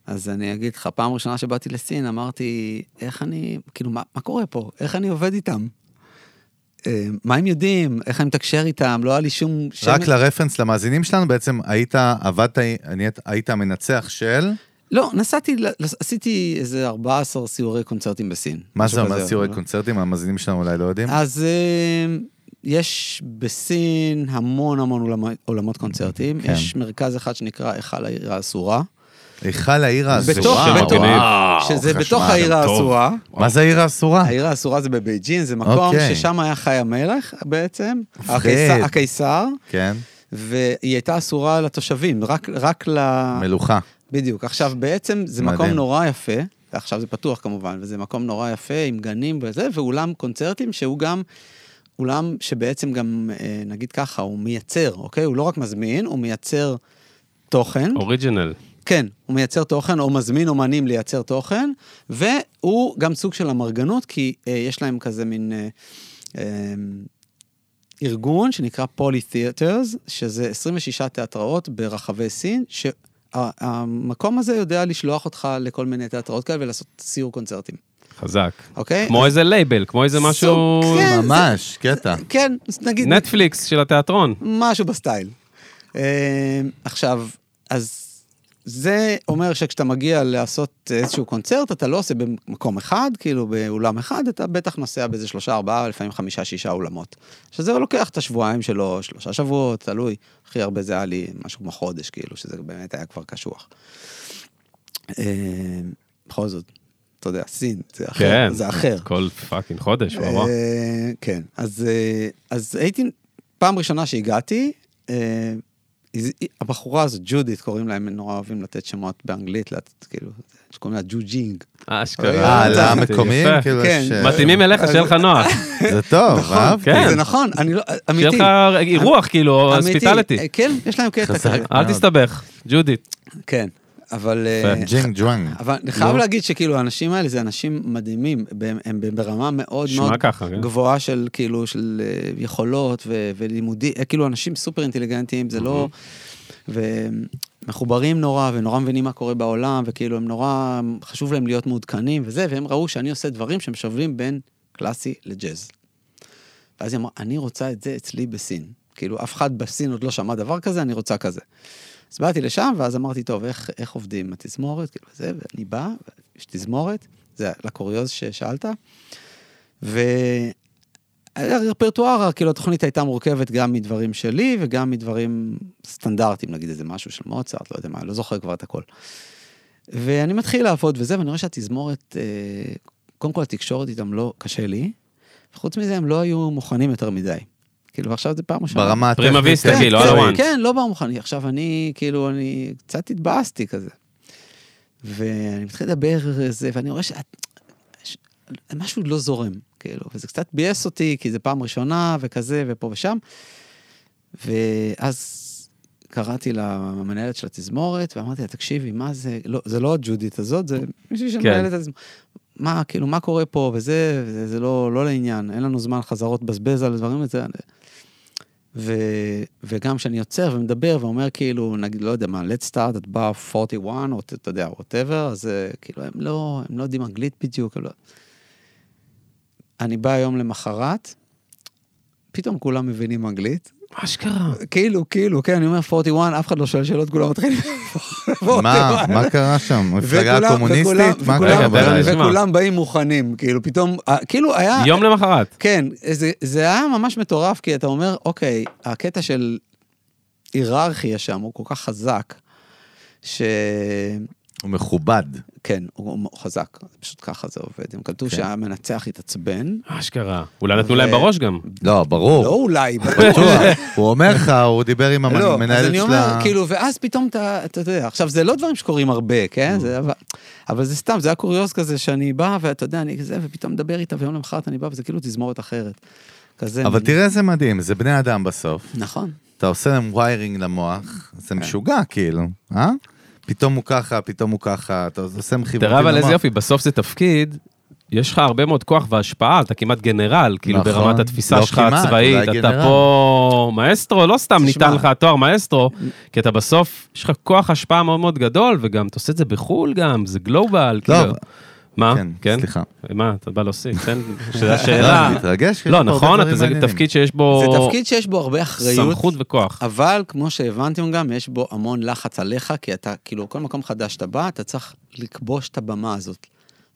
אז אני אגיד לך, פעם ראשונה שבאתי לסין, אמרתי, איך אני, כאילו, מה, מה קורה פה? איך אני עובד איתם? אה, מה הם יודעים? איך אני מתקשר איתם? לא היה לי שום... רק שמץ- לרפרנס למאזינים שלנו, בעצם היית, עבדת, נהיית- היית המנצח של, לא, נסעתי, ל- לס- עשיתי איזה 14 סיורי קונצרטים בסין. מה זה משהו אומר כזה. אה. סיורי קונצרטים, המאזינים שלנו אולי לא יודעים. אז אה, יש בסין המון המון עולמות, עולמות קונצרטים. כן. אה, יש מרכז אחד שנקרא היכל העיר האסורה. היכל העיר בתוך, האסורה. שם בתוך, מגניב. שזה חשמל, בתוך העיר טוב. האסורה. מה זה העיר האסורה? העיר האסורה זה בבייג'ין, זה מקום אוקיי. ששם היה חי המלך בעצם, מפחיד. הקיסר, הקיסר, כן, והיא הייתה אסורה לתושבים, רק, רק ל... מלוכה. בדיוק. עכשיו, בעצם זה מדהים. מקום נורא יפה, עכשיו זה פתוח כמובן, וזה מקום נורא יפה עם גנים וזה, ואולם קונצרטים שהוא גם אולם שבעצם גם, אה, נגיד ככה, הוא מייצר, אוקיי? הוא לא רק מזמין, הוא מייצר תוכן. אוריג'ינל. כן, הוא מייצר תוכן, או מזמין אומנים לייצר תוכן, והוא גם סוג של אמרגנות, כי אה, יש להם כזה מין אה, אה, ארגון שנקרא פולי תיאטרס, שזה 26 תיאטראות ברחבי סין, שהמקום הזה יודע לשלוח אותך לכל מיני תיאטראות כאלה ולעשות סיור קונצרטים, חזק. אוקיי? כמו איזה לייבל, כמו איזה סוג- משהו... כן, זה- ממש, קטע. כן, אז נגיד... נטפליקס של התיאטרון. משהו בסטייל. אה, עכשיו, אז זה אומר שכשאתה מגיע לעשות איזשהו קונצרט, אתה לא עושה במקום אחד, כאילו באולם אחד, אתה בטח נוסע באיזה שלושה, ארבעה, לפעמים חמישה, שישה אולמות. שזה לוקח את השבועיים שלו, שלושה שבועות, תלוי. הכי הרבה זה היה לי משהו כמו חודש, כאילו, שזה באמת היה כבר קשוח. אה, בכל זאת, אתה יודע, סין, זה אחר, כן. זה אחר. כל פאקינג חודש, וואו. וואו. אה, כן, אז, אה, אז הייתי, פעם ראשונה שהגעתי, אה, היא- היא- הבחורה הזאת, ג'ודית, קוראים להם, הם נורא אוהבים לתת שמות באנגלית, לתת, כאילו, שקוראים לה ג'ו ג'ינג. אשכרה. אה, אה, למקומיים? יפה. כאילו, כן. ש- מתאימים אליך, שיהיה לך נוח. זה טוב, אהב. כן. זה נכון, אני לא, שיהיה אמיתי. לך אירוח, כאילו, אמיתי. הוספיטליטי. אה, כן, יש להם קטע חזק. כזה. אל תסתבך, אוקיי. ג'ודית. כן, אבל... אה, יפה. ג'ינג ג'ואנג. אבל אני חייב להגיד שכאילו האנשים האלה זה אנשים מדהימים, הם, הם ברמה מאוד נשמע מאוד ככה, כן. גבוהה של כאילו של אה, יכולות ו, ולימודי, אה, כאילו אנשים סופר אינטליגנטים, זה לא... אוקיי. ומחוברים נורא ונורא מבינים מה קורה בעולם, וכאילו הם נורא חשוב להם להיות מעודכנים וזה, והם ראו שאני עושה דברים שמשלבים בין קלאסי לג'אז. ואז היא אמרה, אני רוצה את זה אצלי בסין. כאילו, אף אחד בסין עוד לא שמע דבר כזה, אני רוצה כזה. אז באתי לשם, ואז אמרתי, טוב, איך, איך עובדים עם התזמורת? כאילו, זה, ואני בא, יש תזמורת, זה לקוריוז ששאלת. ו... הרפרטואר, כאילו התוכנית הייתה מורכבת גם מדברים שלי וגם מדברים סטנדרטיים, נגיד איזה משהו של מוצרט, לא יודע מה, לא זוכר כבר את הכל. ואני מתחיל לעבוד וזה, ואני רואה שהתזמורת, אה, קודם כל התקשורת איתם לא קשה לי, וחוץ מזה הם לא היו מוכנים יותר מדי. כאילו, עכשיו זה פעם ראשונה. ברמה הטכנית. פרימה ויסטה, כן, כאילו, כן, על הוואן. כן, לא בא מוכן. עכשיו אני, כאילו, אני קצת התבאסתי כזה. ואני מתחיל לדבר זה, ואני רואה שמשהו לא זורם, כאילו, וזה קצת ביאס אותי, כי זה פעם ראשונה, וכזה, ופה ושם. ואז קראתי למנהלת של התזמורת, ואמרתי לה, תקשיבי, מה זה, לא, זה לא הג'ודית הזאת, זה מישהי שמנהלת את התזמורת. מה, כאילו, מה קורה פה, וזה, וזה זה לא, לא לעניין, אין לנו זמן חזרות בזבז על דברים וזה. ו, וגם כשאני יוצר ומדבר ואומר כאילו, נגיד, לא יודע מה, let's start at bar 41, או ת- אתה יודע, whatever, אז אה, כאילו, הם לא, הם לא יודעים אנגלית בדיוק. הם לא... אני בא היום למחרת, פתאום כולם מבינים אנגלית. אשכרה. כאילו, כאילו, כן, אני אומר 41, אף אחד לא שואל שאלות, כולם מתחילים... מה, 41. מה קרה שם? מפלגה וכולם- וכולם- קומוניסטית? מה וכולם- קרה רגע, תן לי בלילה? נשמע. וכולם באים מוכנים, כאילו, פתאום, אה, כאילו היה... יום למחרת. כן, זה, זה היה ממש מטורף, כי אתה אומר, אוקיי, הקטע של היררכיה שם הוא כל כך חזק, ש... הוא מכובד. כן, הוא הוא חזק, פשוט ככה זה עובד. הם כן. קלטו שהמנצח התעצבן. אשכרה. אולי נתנו להם בראש גם. לא, ברור. לא אולי, בטוח. הוא אומר לך, הוא דיבר עם לא, אז המנהלת אני של אומר, ה... כאילו, ואז פתאום אתה, אתה יודע, עכשיו זה לא דברים שקורים הרבה, כן? זה, אבל, אבל זה סתם, זה היה קוריוז כזה שאני בא, ואתה יודע, אני כזה, ופתאום מדבר איתה, ויום למחרת אני בא, וזה כאילו תזמורת אחרת. כזה. אבל מין- תראה איזה מדהים, זה בני אדם בסוף. נכון. אתה עושה להם ויירינג למוח, זה כן. משוגע כאילו, אה? פתאום הוא ככה, פתאום הוא ככה, אתה עושה להם חיבורים תראה אבל איזה למוח. יופי, בסוף זה תפקיד, יש לך הרבה מאוד כוח והשפעה, אתה כמעט גנרל, כאילו נכון. ברמת התפיסה לא שלך כמעט, הצבאית, אולי אתה גנרל. פה מאסטרו, לא סתם תשמע. ניתן לך התואר מאסטרו, כי אתה בסוף, יש לך כוח השפעה מאוד מאוד גדול, וגם אתה עושה את זה בחו"ל גם, זה גלובל, כאילו. אבל- מה? לא, כן, כן? סליחה. מה, אתה בא להוסיף, תן, שזו לא, השאלה. אני מתרגש. יש פה לא, הרבה נכון, דברים אתה- זה מעניינים. תפקיד שיש בו זה תפקיד שיש בו הרבה אחריות. סמכות וכוח. אבל כמו שהבנתם גם, יש בו המון לחץ עליך, כי אתה, כאילו, כל מקום חדש שאתה בא, אתה צריך לכבוש את הבמה הזאת.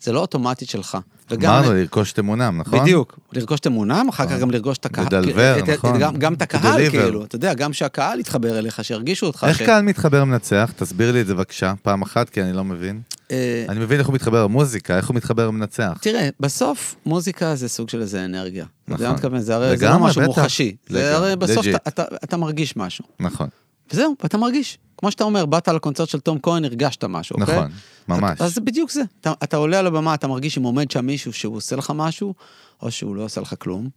זה לא אוטומטית שלך. וגם- אמרנו, לרכוש תמונם, נכון? בדיוק. לרכוש את אמונם, אחר כך גם לרכוש את הקהל. לדלבר, את- את- נכון. גם- גם את הקהל, Deliver. כאילו, אתה יודע, גם שהקהל יתחבר אליך, שירגישו אותך. איך ש- קהל מתחבר מנצח? תסביר לי את זה בבקשה, פעם אחת, כי אני לא מבין. אה, אני מבין איך הוא מתחבר למוזיקה, איך הוא מתחבר למנצח. תראה, בסוף מוזיקה זה סוג של איזה אנרגיה. נכון. זה נכון. מה מתכוון, זה הרי זה לא לגמרי, משהו בטח. מוחשי. זה לגמרי, הרי בסוף legit. אתה, אתה, אתה מרגיש משהו. נכון, וזהו, אתה מרגיש. כמו שאתה אומר, באת לקונצרט של תום כהן, הרגשת משהו, אוקיי? נכון, ממש. אז זה בדיוק זה. אתה, אתה עולה על הבמה, אתה מרגיש אם עומד שם מישהו שהוא עושה לך משהו, או שהוא לא עושה לך כלום,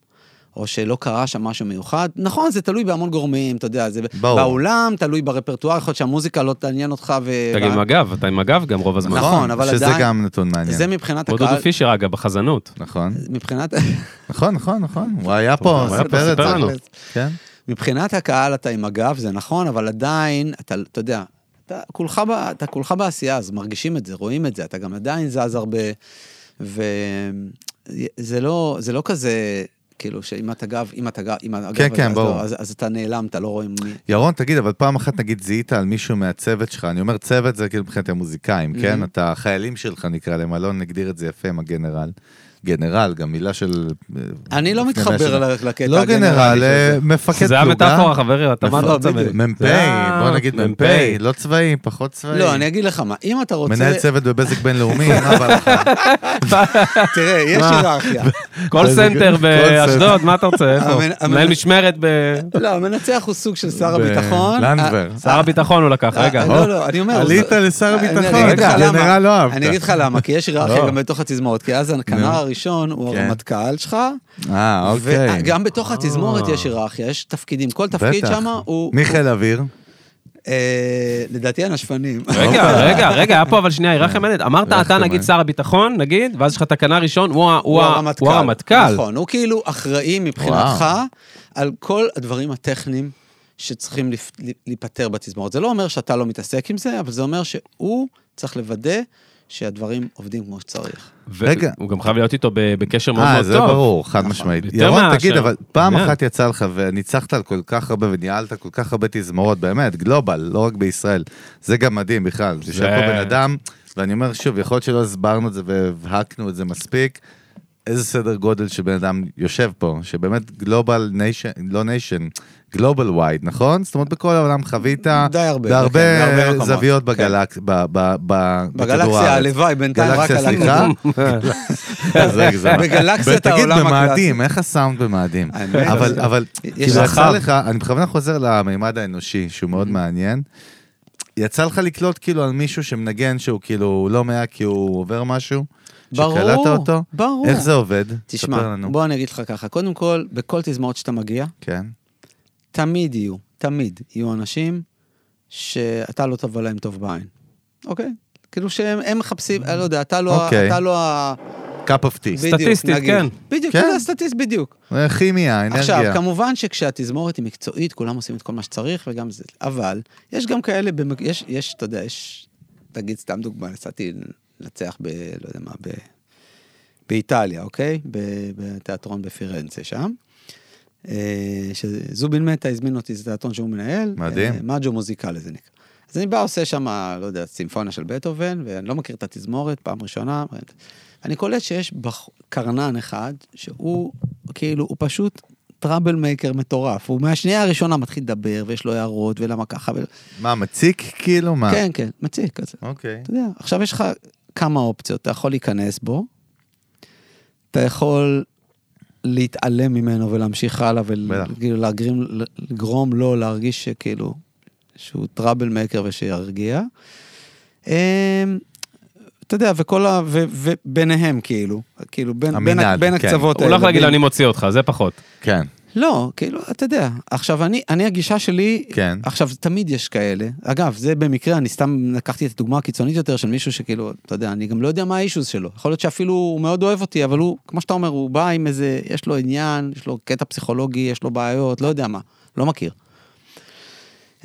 או שלא קרה שם משהו מיוחד. נכון, זה תלוי בהמון גורמים, אתה יודע, זה ברור. באולם, תלוי ברפרטואר, יכול להיות שהמוזיקה לא תעניין אותך ו... אתה עם הגב, אתה עם הגב גם רוב הזמן. נכון, אבל שזה עדיין- גם נתון מעניין. זה מבחנת כמו דודו הקהל, פישר אגב, בחזנות. נכון, מבחינת... נכון, נכון, נכון. הוא היה פה, הוא היה פה, סיפר את סיפר לנו. זה. כן. מבחינת הקהל אתה עם הגב, זה נכון, אבל עדיין, אתה, אתה יודע, אתה כולך, ב, אתה כולך בעשייה, אז מרגישים את זה, רואים את זה, אתה גם עדיין זז הרבה, וזה לא, זה לא כזה, כאילו, שאם אתה גב, אם אתה גב, אם הגב, כן, כן, אז, ברור. לא, אז, אז אתה נעלם, אתה לא רואים מי... ירון, תגיד, אבל פעם אחת נגיד זיהית על מישהו מהצוות שלך, אני אומר צוות זה כאילו מבחינת המוזיקאים, Mm-hmm. כן? אתה, החיילים שלך נקרא להם, אלון הגדיר את זה יפה עם הגנרל. גנרל, גם מילה של... אה, אני לא לפני מאה מתחבר שנה. ל- לקטע לא הגנרלי גנרל, של אה, זה. מפקד פלוגה. זה המטאפורה, חברים, אתה מה אתה לא, רוצה? בדיוק. ממני? נכון, מ"פ, זה- בוא נגיד מ"פ, לא צבאי, פחות צבאי. לא, אני אגיד לך מה, אם אתה רוצה... מנהל צוות בבזק בינלאומי, מה בא לך? תראה, יש היררכיה. קול סנטר באשדוד, מה אתה רוצה? איפה? המנ- המנ- מנהל משמרת ב... לא, המנצח הוא סוג של שר ב- הביטחון. לנדבר. שר הביטחון הוא לקח, רגע. אה, לא, לא, אני אומר... עלית זה- לשר אני- הביטחון, אני אגיד לך למה. גנרל לא אהבת. אני אגיד לך למה, כי יש היררכיה לא. גם בתוך התזמורת, כי אז הכנר הראשון הוא כן. הרמטכ"ל שלך, אה, אוקיי. וגם בתוך התזמורת יש היררכיה, יש תפקידים, כל תפקיד בטח. שם הוא... מי חיל אוויר? אה, לדעתי הנשפנים. רגע, אוקיי. רגע, רגע, היה פה אבל שנייה אה, היררכיה מעניינת. אמרת היררכיה אתה נגיד מעניינת. שר הביטחון, נגיד, ואז יש לך תקנה ראשון, הוא ה- הוא ה- הוא הרמטכ"ל. נכון, הוא כאילו אחראי מבחינתך על כל הדברים הטכניים שצריכים לפ- להיפתר בתזמורת. זה לא אומר שאתה לא מתעסק עם זה, אבל זה אומר שהוא צריך לוודא שהדברים עובדים כמו שצריך. ו- רגע. הוא גם חייב להיות איתו ב- בקשר מאוד אה, מאוד זה טוב. נכון. ברור, חד משמעית. יותר ירון, מאשר- תגיד, אבל פעם כן. אחת יצא לך וניצחת על כל כך הרבה וניהלת כל כך הרבה תזמורות, באמת, גלובל, לא רק בישראל. זה גם מדהים בכלל. יושב פה בן אדם, ואני אומר שוב, יכול להיות שלא הסברנו את זה והבהקנו את זה מספיק. איזה סדר גודל שבן אדם יושב פה, שבאמת גלובל ניישן, לא ניישן, גלובל וייד, נכון? זאת אומרת, בכל העולם חווית די הרבה, בהרבה כן, בהרבה מקומות. זוויות כן. בגלק, ב, ב, ב, בכדור בגלקסיה, הארץ. הלוואי, בינתיים רק על גלקסיה, סליחה? אז רגע, זה מה- בגלקסיית העולם תגיד הקלאסי. במאדים, איך הסאונד במאדים? האמת, אבל, זה- אבל, יש כאילו יצא רחב. לך, אני בכוונה חוזר למימד האנושי, שהוא Mm-hmm. מאוד מעניין. יצא לך לקלוט כאילו על מישהו שמנגן שהוא כאילו לא מאה כי הוא עובר משהו? ברור, שקלטת אותו? ברור. איך זה עובד? ספר תשמע, לנו. בוא אני אגיד לך ככה, קודם כל, בכל תזמורת שאתה מגיע, כן. תמיד יהיו, תמיד יהיו אנשים שאתה לא תבוא להם טוב בעין, אוקיי? כאילו שהם הם מחפשים, אני לא יודע, אתה לא, ה- אוקיי. אתה לא ה... cup of tea. בדיוק, סטטיסטית, נגיד. כן. בדיוק, כן. אתה סטטיסט בדיוק. זה כימיה, עכשיו, אנרגיה. כמובן שכשהתזמורת היא מקצועית, כולם עושים את כל מה שצריך וגם זה, אבל יש גם כאלה, במק... יש, יש, אתה יודע, יש, תגיד סתם דוגמה, נסעתי לנצח ב... לא יודע מה, ב... באיטליה, אוקיי? ב... בתיאטרון בפירנצה שם. אה, שזובין מטה הזמין אותי, זה תיאטרון שהוא מנהל. מדהים. אה, מאג'ו מוזיקלי זה נקרא. אז אני בא, עושה שם, לא יודע, סימפוניה של בטהובן, ואני לא מכיר את התזמורת, פעם ראשונה. אני קולט שיש בח... קרנן אחד, שהוא, כאילו, הוא פשוט טראבל מייקר מטורף. הוא מהשנייה הראשונה מתחיל לדבר, ויש לו הערות, ולמה ככה, ו... מה, מציק כאילו? מה? כן, כן, מציק כזה. אוקיי. אתה יודע, עכשיו יש לך כמה אופציות, אתה יכול להיכנס בו, אתה יכול להתעלם ממנו ולהמשיך הלאה בטח. ולגרום לגרום לו להרגיש שכאילו, שהוא טראבל מקר ושירגיע. אמ, אתה יודע, וכל ה... ו- וביניהם כאילו, כאילו בין, בין, ה- המנעד, בין כן. הקצוות הוא הולך להגיד לו, בין- אני מוציא אותך, זה פחות. כן. לא, כאילו, אתה יודע. עכשיו, אני, אני הגישה שלי, כן. עכשיו, תמיד יש כאלה. אגב, זה במקרה, אני סתם לקחתי את הדוגמה הקיצונית יותר של מישהו שכאילו, אתה יודע, אני גם לא יודע מה האישוז שלו. יכול להיות שאפילו הוא מאוד אוהב אותי, אבל הוא, כמו שאתה אומר, הוא בא עם איזה, יש לו עניין, יש לו קטע פסיכולוגי, יש לו בעיות, לא יודע מה, לא מכיר.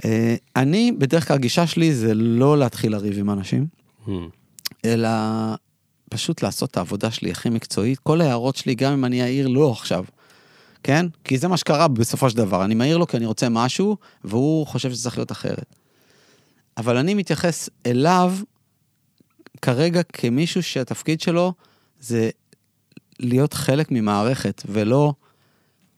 אה, אני, בדרך כלל הגישה שלי זה לא להתחיל לריב עם אנשים. אלא פשוט לעשות את העבודה שלי הכי מקצועית. כל ההערות שלי, גם אם אני אעיר לו עכשיו, כן? כי זה מה שקרה בסופו של דבר. אני מעיר לו כי אני רוצה משהו, והוא חושב שזה צריך להיות אחרת. אבל אני מתייחס אליו כרגע כמישהו שהתפקיד שלו זה להיות חלק ממערכת, ולא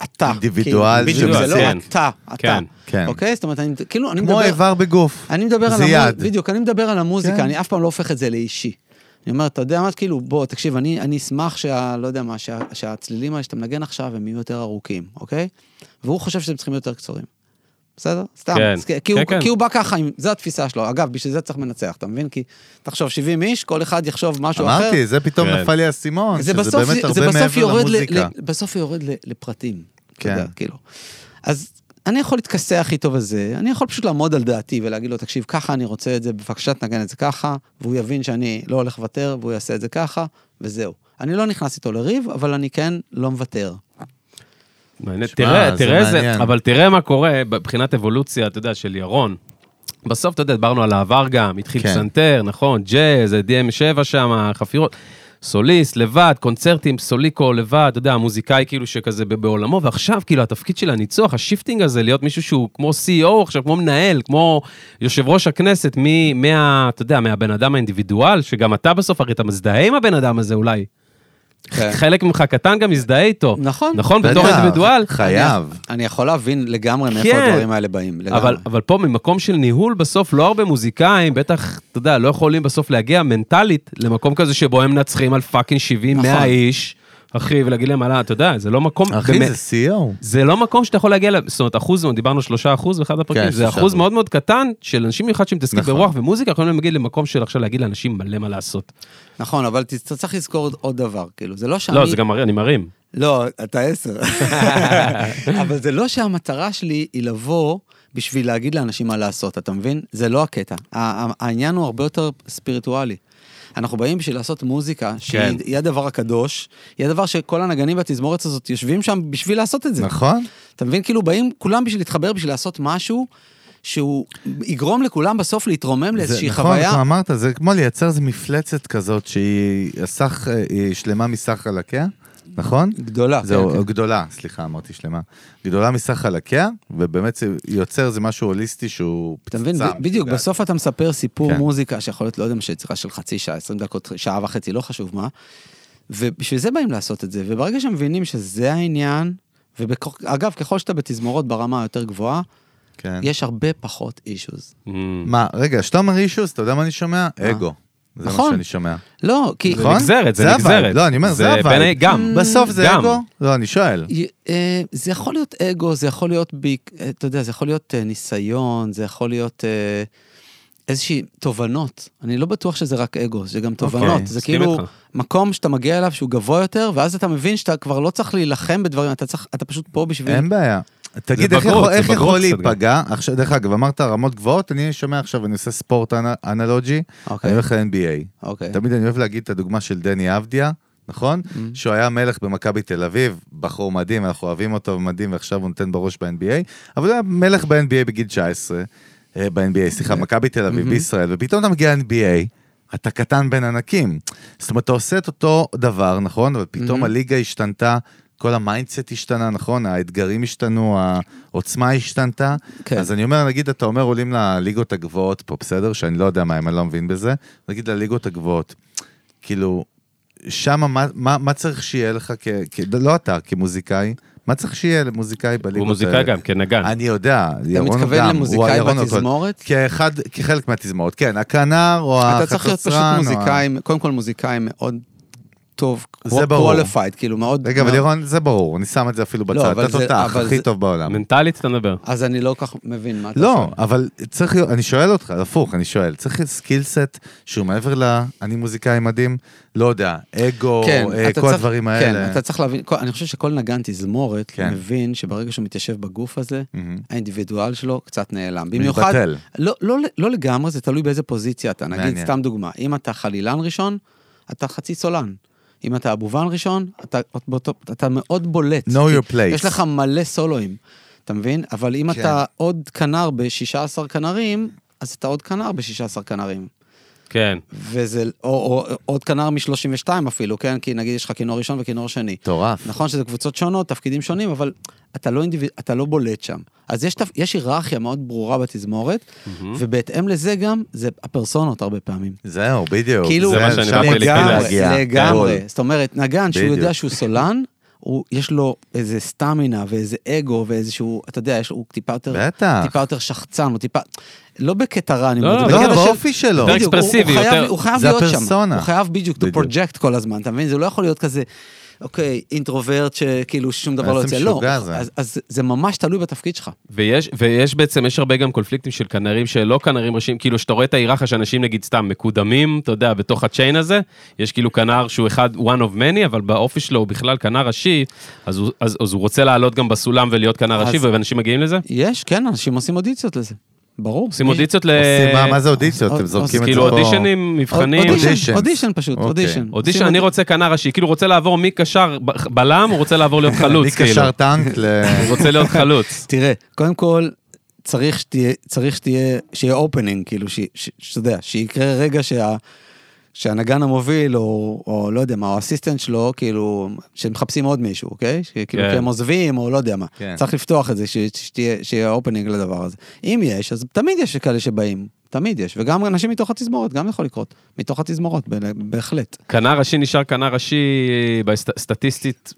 אתה. אינדיבידואל כאילו, בדיוק, זה לא שמציין. אתה, אתה. כן, כן. אוקיי? זאת אומרת, אני, כאילו, אני מדבר... כמו איבר בגוף. אני מדבר על זה המוזיקה, יד. בדיוק, אני מדבר על המוזיקה, כן. אני אף פעם לא הופך את זה לאישי. אני אומר, אתה יודע מה, כאילו, בוא, תקשיב, אני, אני אשמח שה... לא יודע מה, שה, שהצלילים האלה שאתה מנגן עכשיו, הם יהיו יותר ארוכים, אוקיי? והוא חושב שהם צריכים להיות יותר קצרים. בסדר? סתם. כן. אז כי, כי, כן, הוא, כן. כי הוא בא ככה, עם, זו התפיסה שלו. אגב, בשביל זה צריך מנצח, אתה מבין? כי תחשוב, 70 איש, כל אחד יחשוב משהו אחר. אמרתי, זה פתאום כן. נפל לי האסימון, שזה זה בסוף, באמת נכון, זה הרבה בסוף מעבר יורד, ל, למוזיקה. ל, בסוף יורד ל, לפרטים. כן. כן. אתה יודע, כאילו. אז אני יכול להתכסח איתו בזה, אני יכול פשוט לעמוד על דעתי ולהגיד לו, תקשיב, ככה אני רוצה את זה, בבקשה תנגן את זה ככה, והוא יבין שאני לא הולך לוותר, והוא יעשה את זה ככה, וזהו. אני לא נכנס איתו לריב, אבל אני כן לא מוותר. מעניין. שמע, תראה, זה תראה איזה, מעניין. אבל תראה מה קורה מבחינת אבולוציה, אתה יודע, של ירון. בסוף, אתה יודע, דיברנו על העבר גם, התחיל כן. פסנתר, נכון, ג'אז, DM7 שם, חפירות, סוליסט, לבד, קונצרטים, סוליקו, לבד, אתה יודע, המוזיקאי כאילו שכזה ב- בעולמו, ועכשיו כאילו התפקיד של הניצוח, השיפטינג הזה, להיות מישהו שהוא כמו CEO עכשיו, כמו מנהל, כמו יושב ראש הכנסת, מ- מה, אתה יודע, מהבן אדם האינדיבידואל, שגם אתה בסוף, הרי אתה מזדהה עם הבן אדם הזה אולי. כן. חלק ממך קטן גם מזדהה איתו. נכון. נכון, בטח, בתור אינדיבידואל. חייב. אני, אני יכול להבין לגמרי מאיפה כן. הדברים האלה באים, לגמרי. אבל, אבל פה ממקום של ניהול, בסוף לא הרבה מוזיקאים, בטח, אתה יודע, לא יכולים בסוף להגיע מנטלית למקום כזה שבו הם מנצחים על פאקינג 70, נכון. 100 איש, אחי, ולהגיד להם, "אללה, אתה יודע, זה לא מקום... באמת- אחי, זה E CEO. זה לא מקום שאתה יכול להגיע, אליו, זאת אומרת, אחוז, דיברנו שלושה אחוז באחד הפרקים, כן, זה שלושה אחוז אחוז. מאוד מאוד קטן של אנשים במיוחד שמתעסקים נכון. ברוח ומוזיקה, יכולים להגיד למקום של עכשיו להגיד לאנשים מלא מה לעשות. נכון, אבל ת- צריך לזכור עוד- עוד דבר, כאילו, זה לא שאני... לא, זה גם מראה, אני מרים. לא, אתה עשר. אבל זה לא שהמטרה שלי היא לבוא בשביל להגיד לאנשים מה לעשות, אתה מבין? זה לא הקטע. ה- ה- העניין הוא הרבה יותר ספיריטואלי. אנחנו באים בשביל לעשות מוזיקה, כן. שהיא הדבר הקדוש, היא הדבר שכל הנגנים והתזמורת הזאת יושבים שם בשביל לעשות את זה. נכון? אתה מבין? כאילו באים כולם בשביל להתחבר, בשביל לעשות משהו שהוא יגרום לכולם בסוף להתרומם לאיזושהי זה- נכון, חוויה. אתה אמרת, זה כמו לייצר איזו מפלצת כזאת שהיא הסך, אה, היא שלמה מסך חלקיה, נכון? גדולה. זהו, כן, כן. גדולה, סליחה, אמרתי שלמה. גדולה מסך חלקיה, ובאמת זה יוצר איזה משהו הוליסטי שהוא אתה פצצה. כן. מבין, ב- בדיוק, משוגעת. בסוף אתה מספר סיפור כן. מוזיקה שיכול להיות, לא יודע מה, שיצירה של חצי שעה, 20 דקות, שעה וחצי, לא חשוב מה. ובשביל זה באים לעשות את זה, וברגע שמבינים שזה העניין, ואגב, ככל שאתה בתזמורות ברמה היותר גבוהה, כן. יש הרבה פחות אישוז. מה, רגע, כשאתה אומר אישוס, אתה יודע מה אני שומע? אגו. זה מה נכון. שאני שומע. לא, כי... נכון? נגזרת, זה זה הווייב. נגזרת. לא, אני אומר, זה הווייב. בין ה- גם. בסוף זה גם. אגו? לא, אני שואל. אה, זה יכול להיות אגו, זה יכול להיות, ביק- אה, אתה יודע, זה יכול להיות אה, ניסיון, זה יכול להיות אה, איזושהי תובנות. אני לא בטוח שזה רק אגו, זה גם אוקיי, תובנות. זה מסכים כאילו איתך. מקום שאתה מגיע אליו שהוא גבוה יותר, ואז אתה מבין שאתה כבר לא צריך להילחם בדברים, אתה צריך, אתה פשוט פה בשביל... אין בעיה. תגיד, איך בגרות, יכול- זה איך בגרות יכול קצת גם. להיפגע? עכשיו, דרך אגב, אמרת רמות גבוהות, אני שומע עכשיו, אני עושה ספורט אנ- אנלוגי, אני אוקיי, הולך ל-NBA. אוקיי. תמיד אני אוהב להגיד את הדוגמה של דני אבדיה, נכון? שהוא היה מלך במכבי תל אביב, בחור מדהים, אנחנו אוהבים אותו, מדהים, ועכשיו הוא נותן בראש ב-NBA, אבל הוא היה מלך ב-NBA בגיל 19, אה, ב-NBA, סליחה, מכבי תל אביב בישראל, ופתאום אתה מגיע ל-NBA, אתה קטן בין ענקים. זאת אומרת, אתה עושה את אותו דבר, נכון? אבל פתאום הליגה השתנתה. כל המיינדסט השתנה, נכון? האתגרים השתנו, העוצמה השתנתה. כן. כן. אז אני אומר, נגיד, אתה אומר, עולים לליגות הגבוהות פה, בסדר? שאני לא יודע מה, אם אני לא מבין בזה. נגיד לליגות הגבוהות, כאילו, שמה, מה, מה, מה צריך שיהיה לך, כ, כ, לא אתה, כמוזיקאי, מה צריך שיהיה למוזיקאי בליגות הוא מוזיקאי גם, כן, כנגן. אני יודע, אתה ירון אודם, מתכוון הוא למוזיקאי הירון אודם. בתזמורת? כאחד, כחלק מהתזמורת, כן, הכנר או החצוצרן. אתה צריך להיות פשוט או ה- מוזיקאי, קודם כל מוזיקאי מאוד טוב, זה ברור. qualified, כאילו מאוד... רגע, אבל ירון, זה ברור, אני שם את זה אפילו לא, בצד, אבל אתה זה- תותח, אבל הכי זה- טוב בעולם. מנטלית אתה מדבר. אז אני לא כל כך מבין מה אתה לא, עושה. אבל צריך, להיות- אני שואל אותך, הפוך, אני שואל, צריך סקילסט שהוא מעבר ל... אני מוזיקאי מדהים? לא יודע, אגו, כן, אה, אתה כל צריך- הדברים כן, האלה. אתה צריך להבין, כל- אני חושב שכל נגן תזמורת כן. מבין שברגע שהוא מתיישב בגוף הזה, מהמם. האינדיבידואל שלו קצת נעלם. במיוחד, מתבטל. לא, לא, לא לגמרי, זה תלוי באיזה פוזיציה אתה. נגיד, מעניין. מעניין. סתם דוגמה, אם אתה חלילן ראשון, אתה חצי סולן. אם אתה אבובן ראשון, אתה, באותו, אתה מאוד בולט. Know your כי place. יש לך מלא סולואים, אתה מבין? אבל אם כן. כן. אתה עוד כנר ב-16 כנרים, אז אתה עוד כנר ב-16 כנרים. כן. וזה, או, או, או עוד כנר מ-32 אפילו, כן? כי נגיד יש לך כינור ראשון וכינור שני. מטורף. נכון שזה קבוצות שונות, תפקידים שונים, אבל אתה לא, אינדיביד... אתה לא בולט שם. אז יש, תפ... יש היררכיה מאוד ברורה בתזמורת, ובהתאם לזה גם, זה הפרסונות הרבה פעמים. זהו, בדיוק. כאילו, זה מה שאני שם באתי צריך לפני לגמרי, להגיע. לגמרי. גדול. זאת אומרת, נגן שהוא בדיוק. יודע שהוא סולן, הוא, יש לו איזה סטמינה ואיזה אגו ואיזשהו, אתה יודע, יש, הוא טיפה יותר, בטח. טיפה יותר שחצן, הוא טיפה, לא בקטע רע, אני לא, אומר, את זה, לא, בקטע לא, של- באופי שלו. יותר בדיוק, הוא- אקספרסיבי, הוא חייב- יותר- הוא חייב זה להיות שם, הפרסונה. הוא חייב בדיוק to בדיוק. project כל הזמן, אתה מבין? זה לא יכול להיות כזה, אוקיי, אינטרוברט שכאילו שום דבר לא איזה יוצא, לא, משוגע זה. אז- אז זה ממש תלוי בתפקיד שלך. ויש, ויש בעצם, יש הרבה גם קונפליקטים של כנרים שלא כנרים ראשיים, כאילו שאתה רואה את ההיררכיה שאנשים נגיד סתם מקודמים, אתה יודע, בתוך הצ'יין הזה, יש כאילו כנר שהוא אחד, one of many, אבל באופי שלו הוא בכלל כנר ראשי, אז הוא, אז, אז הוא רוצה לעלות גם בסולם ולהיות כנר אז- ראשי, ואנשים מגיעים לזה? יש, כן, אנשים עושים אודיציות לזה, ברור. עושים מי- אודיציות ל... עושים אה, מה, מה זה אודיציות? אז- אתם אז זורקים את זה לא- כאילו פה. אודישנים, מבחנים. אודישן, Auditions. אודישן פשוט, אוקיי. אודישן. אודישן, עושים אני אודישן. רוצה כנר ראשי, כאילו רוצה לעבור מקשר ב- בלם, הוא רוצה לעבור להיות חלוץ, אני כאילו. קשר טנק כן, ל... הוא רוצה להיות חלוץ. תראה, קודם כל, צריך שתהיה, צריך שתהיה, שיהיה אופנינג, כאילו, ש- ש- שאתה יודע, שיקרה רגע שה... שהנגן המוביל, או, או לא יודע מה, או האסיסטנט שלו, כאילו, שמחפשים עוד מישהו, אוקיי? שכאילו, כן. כי הם עוזבים, או לא יודע מה. כן. צריך לפתוח את זה, ש- שתהיה- שיהיה אופנינג לדבר הזה. אם יש, אז תמיד יש כאלה שבאים, תמיד יש. וגם אנשים מתוך התזמורת, גם יכול לקרות. מתוך התזמורות, ב- בהחלט. כנר ראשי נשאר כנר ראשי בסט- סטטיסטית.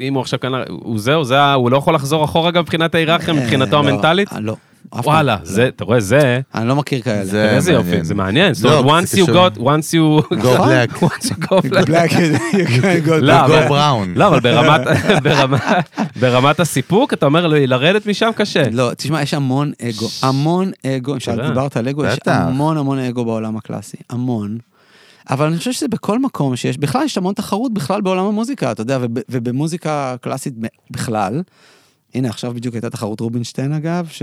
אם הוא עכשיו כנר, הוא זהו, זה, ה- הוא לא יכול לחזור אחורה גם מבחינת ההיררכיה, מבחינתו אה, לא, המנטלית? אה, לא. אף פעם. וואלה, זה, אתה רואה, זה, אני לא מכיר כאלה. זה- איזה מעניין. יופי, זה מעניין. זאת לא, אומרת, once זה you קשור. got, once you... Go black. once you go black. Black is- you can't go לא, Go אבל- brown. לא, אבל ברמת, ברמת- ברמת הסיפוק, אתה אומר, "לא, לרדת משם קשה. לא, תשמע, יש המון אגו, המון אגו, אם שאלה. שאתה דיברת על אגו, יש בטח. המון המון אגו בעולם הקלאסי, המון. אבל אני חושב שזה בכל מקום שיש, בכלל יש המון תחרות בכלל בעולם המוזיקה, אתה יודע, וב, ובמוזיקה קלאסית ב- בכלל. הנה, עכשיו בדיוק הייתה תחרות רובינשטיין אגב, ש...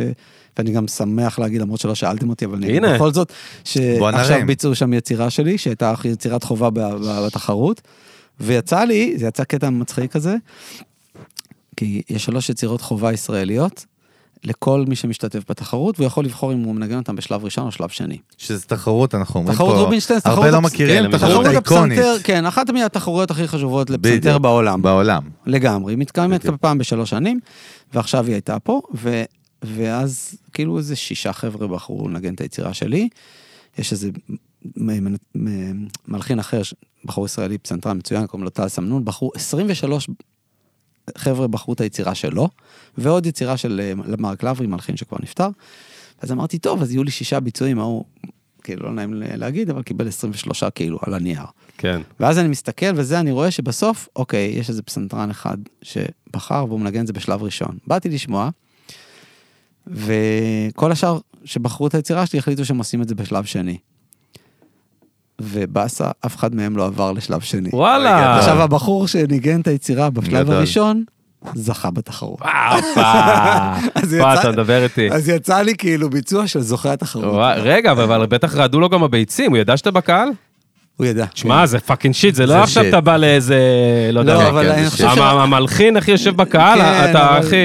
ואני גם שמח להגיד, למרות שלא שאלתם אותי, אבל אני אגיד הנה. בכל זאת, בוא נרים. שעכשיו אה, ביצעו שם יצירה שלי, שהייתה יצירת חובה ב- ב- בתחרות, ויצא לי, זה יצא קטע מצחיק כזה, כי יש שלוש יצירות חובה ישראליות לכל מי שמשתתף בתחרות, והוא יכול לבחור אם הוא מנגן אותם בשלב ראשון או שלב שני. שזה תחרות, אנחנו אומרים פה. תחרות רובינשטיין, תחרות הרבה לא הפס- מכירים, כן, תחרות תחרות איקונית. הפסנתר, כן, אחת מהתחרויות הכי חשובות בדיוק. לפסנתר בעולם. בעולם. לגמרי, היא מתקיימת בדיוק. פעם בשלוש שנים, ועכשיו היא הייתה פה, ו, ואז כאילו איזה שישה חבר'ה בחרו לנגן את היצירה שלי. יש איזה מ- מ- מ- מלחין אחר, ש- בחור ישראלי, פסנתרן מצוין, קוראים לו טל סמנון, בחרו 23 חבר'ה בחרו את היצירה שלו, ועוד יצירה של אה, מרק לברי, מלחין שכבר נפטר. אז אמרתי, טוב, אז יהיו לי שישה ביצועים, ההוא, כאילו לא נעים להגיד, אבל קיבל 23 כאילו על הנייר. כן. ואז אני מסתכל וזה, אני רואה שבסוף, אוקיי, יש איזה פסנתרן אחד שבחר והוא מנגן את זה בשלב ראשון. באתי לשמוע, וכל השאר שבחרו את היצירה שלי החליטו שהם עושים את זה בשלב שני. ובאסה, אף אחד מהם לא עבר לשלב שני. וואלה. עכשיו, הבחור שניגן את היצירה בשלב גדול. הראשון, זכה בתחרות. הופה, אז פה יצא- אתה מדבר איתי. אז יצא לי כאילו ביצוע של זוכה התחרות. וואי, רגע, אבל- אבל בטח רעדו לו גם הביצים, הוא ידע שאתה בקהל? הוא ידע. שמע, זה פאקינג שיט, זה לא זה עכשיו שיט. אתה בא לאיזה... לא יודע. כן. לא, מה. אבל כן, זה אני חושב המ- ש... המלחין הכי יושב בקהל, כן, אתה אבל- הכי...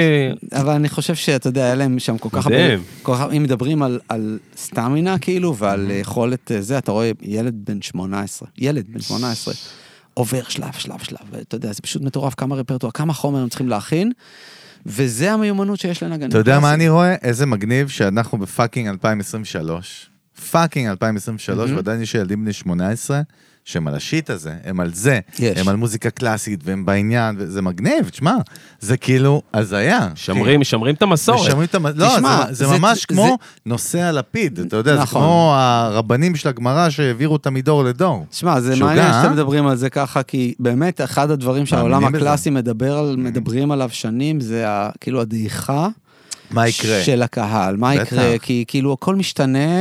אבל אני חושב שאתה יודע, היה להם שם כל כך הרבה... מדהים. כל כך, אם מדברים על, על סטמינה כאילו, ועל Mm-hmm. יכולת אה, זה, אתה רואה ילד בן 18, ילד בן 18, עובר שלב, שלב, שלב, ואתה יודע, זה פשוט מטורף, כמה רפרטואר, כמה חומר הם צריכים להכין, וזה המיומנות שיש לנגן. אתה יודע מה אני רואה? איזה מגניב שאנחנו בפאקינג 2023. פאקינג 2023, ועדיין יש ילדים בני 18 שהם על השיט הזה, הם על זה, יש. הם על מוזיקה קלאסית והם בעניין, וזה מגניב, תשמע, זה כאילו הזיה. שמרים, שמרים את מסורת. המסורת. משמרים את המ... לא, תשמע, זה, זה זה- ממש זה- כמו נושא הלפיד, אתה יודע, זה נכון. כמו הרבנים של הגמרא שהעבירו אותה מדור לדור. שמע, זה שוגע, מעניין אה? שאתם מדברים על זה ככה, כי באמת אחד הדברים שהעולם מאמינים בזה. הקלאסי מדבר Mm-hmm. על, מדברים עליו שנים, זה ה- כאילו הדעיכה מה יקרה? של הקהל. מה בטח. יקרה? כי כאילו הכל משתנה,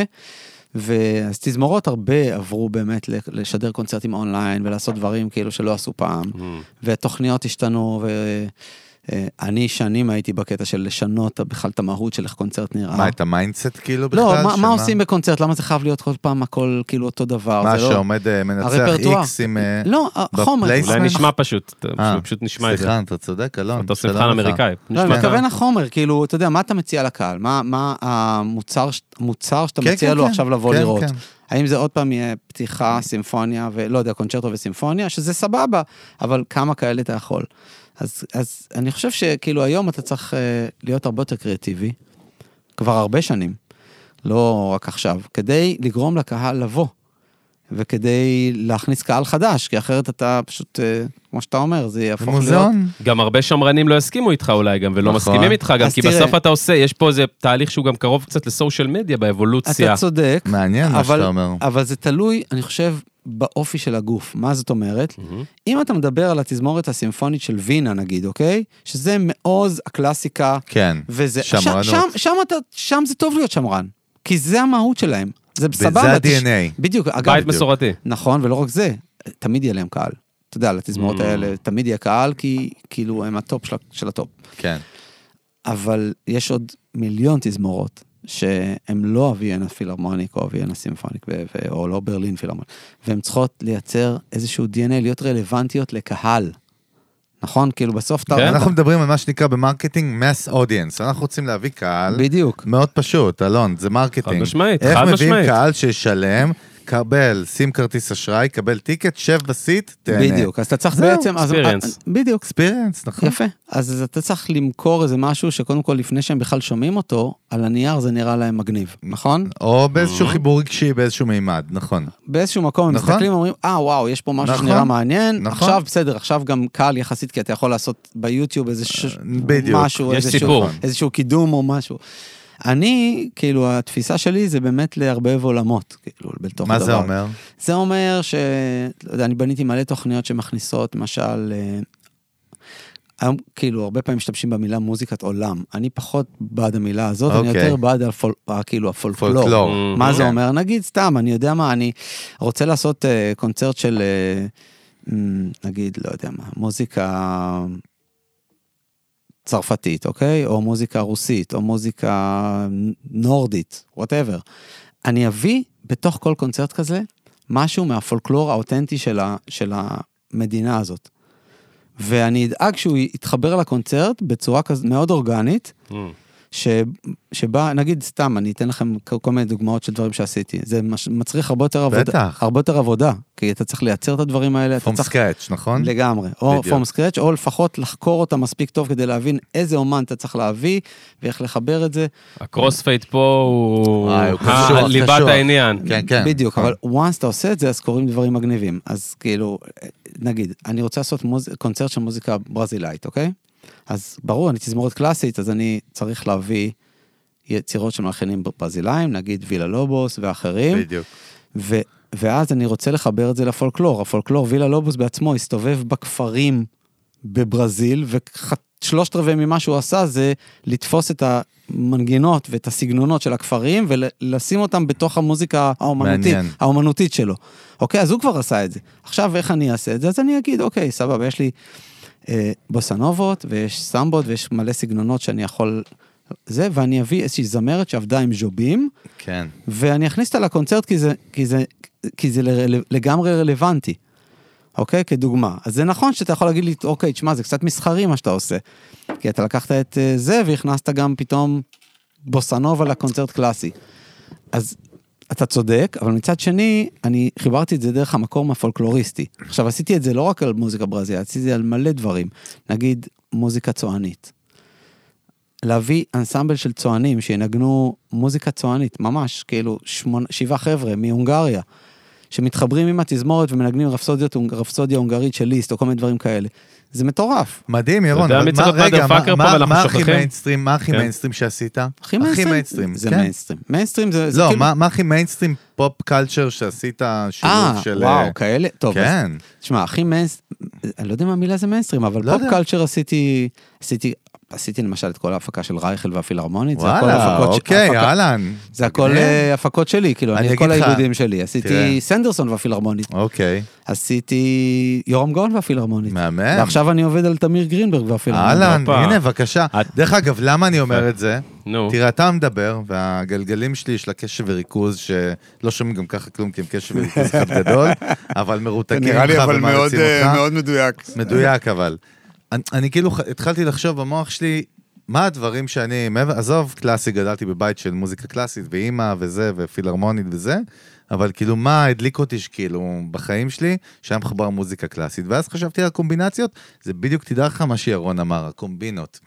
ואז תזמורות הרבה עברו באמת ל- לשדר קונצרטים אונליין ולעשות דברים כאילו שלא עשו פעם, Mm. ותוכניות השתנו, ו... אה, אני שנים הייתי בקטע של לשנות בכלל את המהות של איך קונצרט נראה. מה, את המיינדסט כאילו בכלל? לא, מה, של מה עושים בקונצרט? למה זה חייב להיות כל פעם הכל כאילו אותו דבר? מה זה לא- שעומד אה, מנצח הרפרטואר. איקס עם... אה, לא, החומר. בפלייסמנט. אולי שמח. נשמע פשוט, אתה- אה, פשוט- פשוט נשמע את זה. סליחה, אתה צודק, אלון. אתה עושה שלום מבחן לך. אמריקאי. לא, אני נשמע- מתכוון לחומר, כאילו, אתה יודע, מה אתה מציע לקהל? מה- מה המוצר ש- המוצר שאתה כן, מציע כן, לו כן. עכשיו לבוא כן, לראות? כן. האם זה עוד פעם יהיה פתיחה, סימפוניה, ולא יודע, קונצ'רטו וסימפוניה, שזה סבבה, אבל כמה כאלה אתה יכול? אז, אז אני חושב שכאילו היום אתה צריך אה, להיות הרבה יותר קריאטיבי, כבר הרבה שנים, לא רק עכשיו, כדי לגרום לקהל לבוא, וכדי להכניס קהל חדש, כי אחרת אתה פשוט, אה, כמו שאתה אומר, זה יהפוך להיות... מוזיאון. גם הרבה שמרנים לא יסכימו איתך אולי גם, ולא נכון. מסכימים איתך גם, אז כי תראה. בסוף אתה עושה, יש פה איזה תהליך שהוא גם קרוב קצת לסושיאל מדיה באבולוציה. אתה צודק. מעניין מה שאתה אומר. אבל זה תלוי, אני חושב, באופי של הגוף. מה זאת אומרת? Mm-hmm. אם אתה מדבר על התזמורת הסימפונית של וינה, נגיד, אוקיי? שזה מעוז הקלאסיקה, כן, וזה... שמרנות. שם, שם, שם, אתה, שם זה טוב להיות שמרן, כי זה המהות שלהם. זה סבבה. זה תש- ה-DNA. בדיוק, אגב, בית מסורתי. נכון, ולא רק זה, תמיד יהיה להם קהל. אתה יודע, לתזמורות Mm. האלה תמיד יהיה קהל, כי כאילו הם הטופ של, ה- של הטופ. כן. אבל יש עוד מיליון תזמורות שהן לא הוויאנה פילהרמוניק או הוויאנה סימפוניק ו- ו- או לא ברלין פילהרמוניק, והן צריכות לייצר איזשהו DNA, להיות רלוונטיות לקהל. נכון? כאילו בסוף אתה... כן. אתה- אנחנו מדברים על מה שנקרא במרקטינג mass audience. אנחנו רוצים להביא קהל. בדיוק. מאוד פשוט, אלון, זה מרקטינג. חד משמעית, איך חד מביאים משמעית. קהל שישלם, קבל, שים כרטיס אשראי, קבל טיקט, שב בסיט, תהנה. בדיוק. אז אתה צריך זהו, בעצם... אז- אה, experience. בדיוק. אקספיריאנס, נכון? יפה. אז אז אתה צריך למכור איזה משהו שקודם כל, לפני שהם בכלל שומעים אותו, על הנייר זה נראה להם מגניב, נכון? או באיזשהו Mm-hmm. חיבור רגשי, באיזשהו מימד, נכון. באיזשהו מקום הם נכון. מסתכלים ואומרים, אה וואו, יש פה משהו נכון. שנראה מעניין, נכון. עכשיו בסדר, עכשיו גם קל יחסית, כי אתה יכול לעשות ביוטיוב איזה ש- אה, בדיוק. משהו, יש איזשהו- סיפור. איזשהו קידום או משהו. אני, כאילו, התפיסה שלי זה באמת לערבב עולמות, כאילו, בתוך מה הדבר. זה אומר? זה אומר ש... לא יודע, אני בניתי מלא תוכניות שמכניסות, למשל, אה, היום, כאילו, הרבה פעמים משתמשים במילה מוזיקת עולם. אני פחות בעד המילה הזאת, אני אוקיי. יותר בעד הפול... ה- כאילו, הפולקלור. פולקלור. מה Mm-hmm. זה כן. אומר? נגיד, סתם, אני יודע מה, אני רוצה לעשות אה, קונצרט של, אה, מ, נגיד, לא יודע מה, מוזיקה צרפתית, אוקיי? או מוזיקה רוסית, או מוזיקה נורדית, וואטאבר. אני אביא בתוך כל קונצרט כזה משהו מהפולקלור האותנטי של, ה, של המדינה הזאת. ואני אדאג שהוא יתחבר לקונצרט בצורה כזאת מאוד אורגנית, Hmm. ש, שבה, נגיד סתם, אני אתן לכם כל, כל מיני דוגמאות של דברים שעשיתי. זה מש, מצריך הרבה יותר עבודה. בטח. הרבה יותר עבודה, כי אתה צריך לייצר את הדברים האלה, אתה פום צריך... סקאץ', נכון? לגמרי, או בדיוק. פורם סקרץ', או לפחות לחקור אותה מספיק טוב כדי להבין איזה אומן אתה צריך להביא ואיך לחבר את זה. הקרוספייט פה הוא וואי, הוא ה- קשוח, ליבת קשוח. העניין. כן, כן. בדיוק, נכון. אבל once אתה עושה את זה, אז קורים דברים מגניבים. אז כאילו, נגיד, אני רוצה לעשות מוז... קונצרט של מוזיקה ברזילאית, אוקיי? אז ברור, אני תזמורת קלאסית, אז אני צריך להביא יצירות של מלחינים ברזילאים, נגיד וילה לובוס ואחרים. בדיוק. ו, ואז אני רוצה לחבר את זה לפולקלור. הפולקלור, וילה לובוס בעצמו הסתובב בכפרים בברזיל, ושלושת רבעי ממה שהוא עשה זה לתפוס את המנגינות ואת הסגנונות של הכפרים ולשים אותם בתוך המוזיקה האומנותית, מעניין. האומנותית שלו. אוקיי, אז הוא כבר עשה את זה. עכשיו, איך אני אעשה את זה? אז אני אגיד, אוקיי, סבבה, יש לי אה, בוסנובות ויש סמבות ויש מלא סגנונות שאני יכול... זה, ואני אביא איזושהי זמרת שעבדה עם ז'ובים, כן. ואני אכניס אותה לקונצרט כי זה, כי זה, כי זה לרל- לגמרי רלוונטי, אוקיי? כדוגמה. אז זה נכון שאתה יכול להגיד לי, אוקיי, תשמע, זה קצת מסחרי מה שאתה עושה. כי אתה לקחת את אה, זה והכנסת גם פתאום בוסנובה לקונצרט קלאסי. אז אתה צודק, אבל מצד שני, אני חיברתי את זה דרך המקום הפולקלוריסטי. עכשיו, עשיתי את זה לא רק על מוזיקה ברזילאית, עשיתי את זה על מלא דברים. נגיד, מוזיקה צוענית. להביא אנסמבל של צוענים שינגנו מוזיקה צוענית, ממש, כאילו שמונה, שבעה חבר'ה מהונגריה, שמתחברים עם התזמורת ומנגנים רפסודיות- רפסודיה הונגרית של ליסט או כל מיני דברים כאלה. זה מטורף. מדהים, ירון. יודע אבל מי מה- צריך רגע, להיות מה- motherfucker פה מה- ואנחנו מה הכי שוכחים? מיינסטרים, מה הכי כן. מיינסטרים שעשית? הכי מיינסטרים. זה כן. מיינסטרים. מיינסטרים זה... זה לא, כאילו- מה מה הכי מיינסטרים פופ קלצ'ר שעשית שילוב אה, של... וואו, כאלה? טוב, אז כן. תשמע, הכי מיינסט... אני לא יודע מה המילה זה מיינסטרים, אבל לא פופ יודע. קלצ'ר עשיתי... עשיתי... עשיתי למשל את כל ההפקה של רייכל והפילהרמונית, זה הכל וואלה, הפקות... ש- אוקיי, הפקה- אהלן. זה הכל מגניב. אה, הפקות שלי, כאילו, כן. אני אני את אגיד כל לך- העיבודים שלי. תראה. עשיתי סנדרסון והפילהרמונית, אוקיי, עשיתי יורם גאון והפילהרמונית. מהמם. ועכשיו אני עובד על תמיר גרינברג והפילהרמונית. אהלן, הופה. הנה, בבקשה. את- אה, דרך אגב, למה אני אומר את זה? נו. תראה, אתה מדבר, והגלגלים שלי של הקשב וריכוז, שלא שומעים גם ככה כלום, כי הם קשב וריכוז אחד גדול, אבל מרותקים נראה לי ממך אבל מאוד, ומעריצים אה, אותך. מאוד מדויק. מדויק, אבל. אני, אני כאילו ח- התחלתי לחשוב במוח שלי, מה הדברים שאני, מעבר- עזוב, קלאסי, גדלתי בבית של מוזיקה קלאסית, ואימא וזה, ופילהרמונית וזה, אבל כאילו, מה הדליק אותי שכאילו בחיים שלי, שהיה מחובר מוזיקה קלאסית. ואז חשבתי על הקומבינציות, זה בדיוק, תדע לך מה שירון אמר, הקומבינות.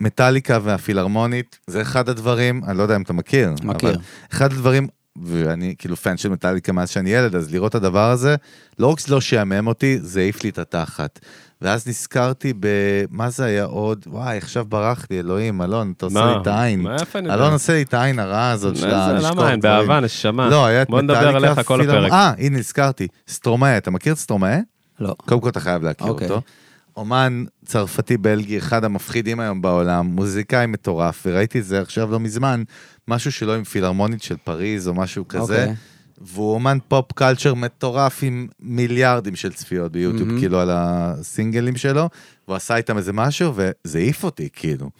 מטאליקה והפילהרמונית, זה אחד הדברים, אני לא יודע אם אתה מכיר. מכיר. אבל אחד הדברים, ואני כאילו פן של מטאליקה מאז שאני ילד, אז לראות את הדבר הזה, לא רק שזה לא שעמם אותי, זה העיף לי את התחת. ואז נזכרתי במה זה היה עוד, וואי, עכשיו ברח לי, אלוהים, אלון, אתה עושה מה? לי את העין. מה איפה אני יודע? אלון עושה לי את העין הרעה הזאת של מה זה, לשכוח למה דברים. אין? באהבה, נשמה. לא, היה את בוא נדבר מטאליקה, עליך כל פילהר- הפרק. אה, הנה, נזכרתי. סטרומאה, אתה מכיר את סטרומאה? לא. קודם כל אתה חייב להכיר אוקיי. אותו. אומן צרפתי-בלגי, אחד המפחידים היום בעולם, מוזיקאי מטורף, וראיתי את זה עכשיו לא מזמן, משהו שלו עם פילהרמונית של פריז או משהו כזה, אוקיי. והוא אומן פופ קלצ'ר מטורף עם מיליארדים של צפיות ביוטיוב, מהמם. כאילו על הסינגלים שלו, והוא עשה איתם איזה משהו, וזה העיף אותי, כאילו.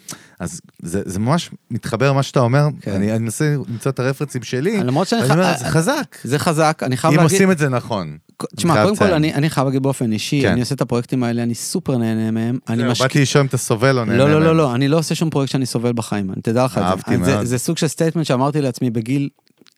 אז זה, זה ממש מתחבר למה שאתה אומר, כן. אני אני מנסה למצוא את הרפרנסים שלי, למרות שאני ואני ח- אומר, זה חזק, זה חזק, אני חייב אם להגיד... עושים את זה נכון. אני תשמע, חייב קודם כל, לציין. אני אני חייב להגיד באופן אישי, כן. אני עושה את הפרויקטים האלה, אני סופר נהנה מהם, אני זהו, משקיע... באתי לשאול אם אתה סובל או נהנה לא, לא, מהם. לא, לא, אני לא עושה שום פרויקט שאני סובל בחיים, אני תדע לך את אהבתי זה. זה. מאוד. זה סוג של סטייטמנט שאמרתי לעצמי בגיל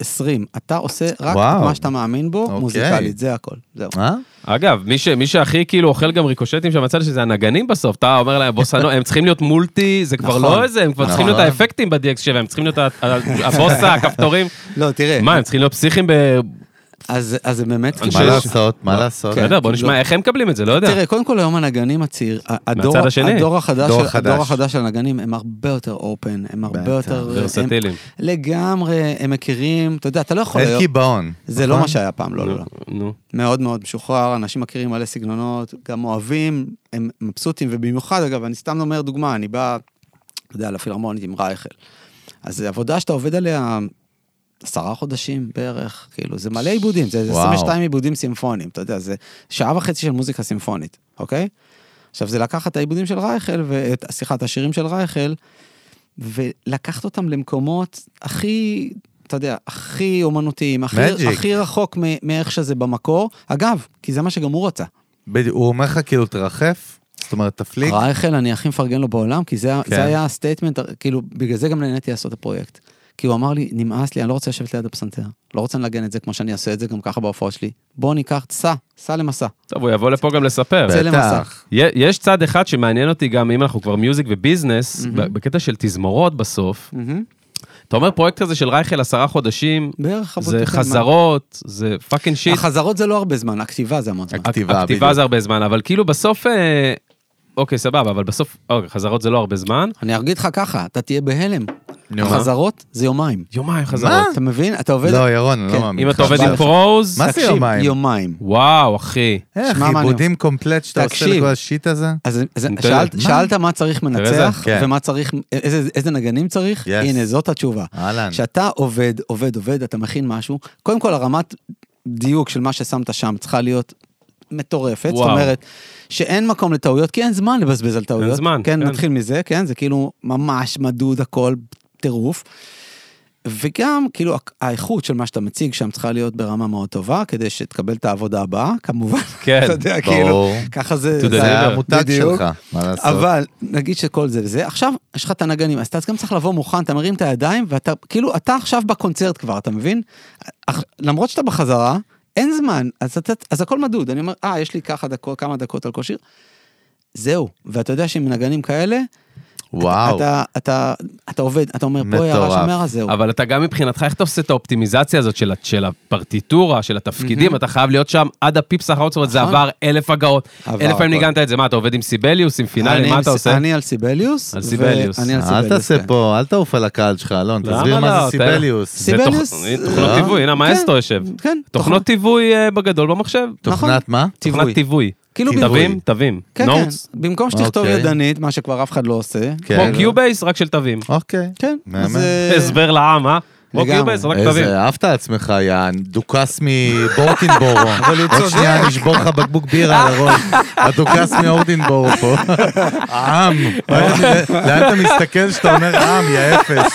20, אתה עושה רק וואו. את מה שאתה מאמין בו, אוקיי. מוזיקלית, זה הכל, זהו. אה? אגב, מי, ש, מי שהכי כאילו אוכל גם ריקושטים שם בצד שזה הנגנים בסוף, אתה אומר להם, בוסנו, הם צריכים להיות מולטי, זה כבר נכון. לא איזה, הם כבר צריכים נכון. להיות האפקטים ב-DX7, הם צריכים להיות ה- ה- הבוסה, הכפתורים. לא, תראה, מה, הם צריכים להיות פסיכים ב... אז אז זה באמת אנשי- מה כאילו- לעשות? מה לעשות? כן. בסדר, בוא נשמע כאילו- איך הם מקבלים את זה, לא יודע. תראה, קודם כל היום הנגנים הצעיר, ה- הדור, מהצד השני. הדור, החדש, דור של- החדש. הדור החדש של הנגנים הם הרבה יותר אופן, הם הרבה בטח. יותר... הם- ורסטיליים. לגמרי, הם מכירים, אתה יודע, אתה לא יכול... אין היום- קיבעון. זה לא נכון? מה שהיה פעם, לא, לא, לא. נו. מאוד מאוד משוחרר, אנשים מכירים מלא סגנונות, גם אוהבים, הם מבסוטים, ובמיוחד, אגב, אני סתם אומר דוגמה, אני בא, אתה יודע, לפילהרמונית עם רייכל. אז זו עבודה שאתה עובד עליה עשרה חודשים בערך, כאילו, זה מלא עיבודים, זה וואו. 22 עיבודים סימפוניים, אתה יודע, זה שעה וחצי של מוזיקה סימפונית, אוקיי? עכשיו, זה לקחת את העיבודים של רייכל, ואת- סליחה, את השירים של רייכל, ולקחת אותם למקומות הכי, אתה יודע, הכי אומנותיים, הכי, Magic. הכי רחוק מ- מאיך שזה במקור. אגב, כי זה מה שגם הוא רצה. בדיוק, הוא אומר לך כאילו תרחף, זאת אומרת תפליג. רייכל, אני הכי מפרגן לו בעולם, כי זה, כן. כן. זה היה הסטייטמנט, כאילו, בגלל זה גם נהניתי לעשות את הפרויקט. כי הוא אמר לי, נמאס לי, אני לא רוצה לשבת ליד הפסנתר. לא רוצה לנגן את זה כמו שאני אעשה את זה גם ככה בהופעות שלי. בוא ניקח, סע, סע למסע. טוב, הוא יבוא לפה גם לספר. צא למסע. יה- יש צד אחד שמעניין אותי גם, אם אנחנו כבר מיוזיק וביזנס, ב- בקטע של תזמורות בסוף, מהמם. אתה אומר פרויקט הזה של רייכל עשרה חודשים, בערך זה אבותיכם, מה- חזרות, זה פאקינג שיט. החזרות זה לא הרבה זמן, הכתיבה זה המון זמן. הכתיבה, הכתיבה זה הרבה זמן, אבל כאילו בסוף... אה, אוקיי, סבבה, אבל בסוף... אוקיי, חזרות זה לא הרבה זמן. אני אגיד לך ככה, אתה תהיה בהלם. נו, מה? חזרות זה יומיים. יומיים מה? חזרות. אתה מבין? אתה עובד... לא, ירון, אני לא כן. מאמין. אם לך. אתה עובד עם אבל- פרוז... מה זה תקשיב, יומיים? יומיים. וואו, אחי. איך, שמע, מה אני- עיבודים קומפלט שאתה עושה תקשיב. לכל השיט הזה? אז, אז נותן שאלת, לב. שאלת מה צריך מנצח, כן. ומה צריך, איזה, איזה נגנים צריך, Yes. הנה זאת התשובה. אהלן. כשאתה עובד, עובד, עובד, אתה מכין משהו, קודם כל הרמת דיוק של מה ששמת שם צריכה להיות מטורפת, וואו. זאת אומרת, שאין מקום לטעויות, כי אין זמן לבזבז על טעויות. זמן, כן, כן. נתחיל מזה, כן, זה כאילו ממש מדוד הכל, טירוף. וגם, כאילו, הק- האיכות של מה שאתה מציג שם צריכה להיות ברמה מאוד טובה, כדי שתקבל את העבודה הבאה, כמובן. כן, אתה יודע, כאילו, ברור. ככה זה... To זה deliver. היה המותג בדיוק. שלך, מה לעשות? אבל נגיד שכל זה וזה, עכשיו יש לך את הנגנים, אז אתה גם צריך לבוא מוכן, אתה מרים את הידיים ואתה, כאילו, אתה עכשיו בקונצרט כבר, אתה מבין? אך- למרות שאתה בחזרה, אין זמן, אז, אתה, אז הכל מדוד, אני אומר, אה, יש לי ככה דקות, כמה דקות על כל שיר, זהו, ואתה יודע שעם נגנים כאלה, וואו. אתה, אתה, אתה עובד, אתה אומר, פה הערה מטורף. שומר, אז זהו. אבל אתה גם מבחינתך, איך אתה עושה את האופטימיזציה הזאת של, ה- של הפרטיטורה, של התפקידים, מהמם. אתה חייב להיות שם עד הפיפס האחרון, זאת אומרת, זה נכון. עבר אלף הגאות, עבר אלף פעמים הכל. ניגנת את זה, מה, אתה עובד עם סיבליוס, עם פינאלי, אני מה עם- אתה עושה? אני על סיבליוס. על סיבליוס. ואני על אל סיבליוס, תעשה כן. פה, אל תעוף על הקהל שלך, אלון, למה תסביר מה לא? זה סיבליוס. אתה- זה סיבליוס, תוכנית- אה, תוכנות טיווי, הנה כן, מאסטרו יושב. כן, תוכנות טיווי אה, בגדול במחשב. נכון. תוכנת מה? תוכנת טיווי. כאילו תווים, ביווי. תווים. כן, כן. נוטס. במקום שתכתוב אוקיי. ידנית, מה שכבר אף אחד לא עושה. כן. כמו קיובייס, רק של תווים. אוקיי. כן. מהמם. אז, אה, הסבר לעם, אה? כמו לגמרי. קיובייס, רק תווים. איזה אהבת על עצמך, יא דוכס מבורטינבורו. אבל הוא צודק. עוד שנייה נשבור לך בקבוק בירה על הראש. הדוכס מאורטינבורו פה. העם. לאן אתה מסתכל כשאתה אומר עם, יא אפס?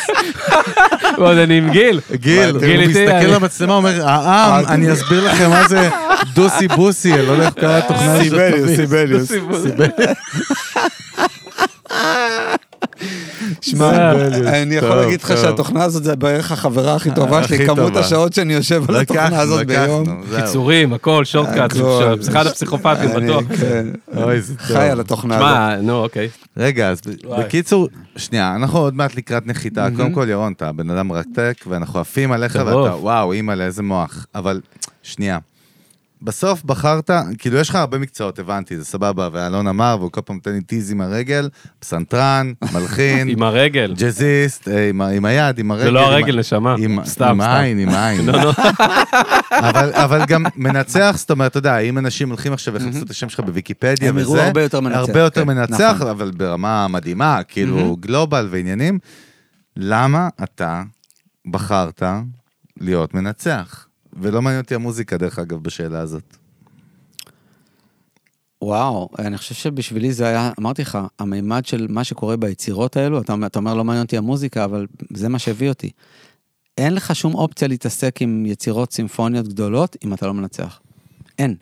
ועוד אני עם גיל. גיל, גיל הוא איתי, אני- מסתכל למצלמה, אומר, העם, אני אסביר לכם מה זה דוסי בוסי, אני לא יודע איך קרה התוכנה הזאת. אה, סיבליוס, סיבליוס. שמע, אה, אני יכול טוב, להגיד לך טוב. שהתוכנה הזאת זה בערך החברה הכי טובה הכי שלי, כמות טובה. השעות שאני יושב על התוכנה הזאת ביום. זהו. קיצורים, הכל, שורטקאט, הכל. אחד הפסיכופטים, אני, בטוח. כן, אוי, זה טוב. חי על התוכנה הזאת. שמע, נו, אוקיי. רגע, אז ב- וואי. בקיצור, שנייה, אנחנו עוד מעט לקראת נחיתה. קודם כל, ירון, אתה בן אדם מרתק, ואנחנו עפים עליך, טרוף. ואתה, וואו, אימא'לה, איזה מוח. אבל, שנייה. בסוף בחרת, כאילו, יש לך הרבה מקצועות, הבנתי, זה סבבה, ואלון אמר, והוא כל פעם נותן לי טיז עם הרגל, פסנתרן, מלחין, עם הרגל. ג'אזיסט, אה, עם ה- עם היד, עם הרגל. זה לא עם ה- הרגל, נשמה. עם- סתם, עם סתם. העין, עם העין. לא, לא. אבל, אבל גם מנצח, זאת אומרת, אתה יודע, אם אנשים הולכים עכשיו ויחפשו את השם שלך בוויקיפדיה הם וזה, יראו הרבה יותר מנצח, הרבה יותר כן, מנצח, נכון. אבל ברמה מדהימה, כאילו גלובל ועניינים. למה אתה בחרת להיות מנצח? ולא מעניין אותי המוזיקה, דרך אגב, בשאלה הזאת. וואו, אני חושב שבשבילי זה היה, אמרתי לך, המימד של מה שקורה ביצירות האלו, אתה, אומר- אתה אומר, לא מעניין אותי המוזיקה, אבל זה מה שהביא אותי. אין לך שום אופציה להתעסק עם יצירות סימפוניות גדולות אם אתה לא מנצח. אין.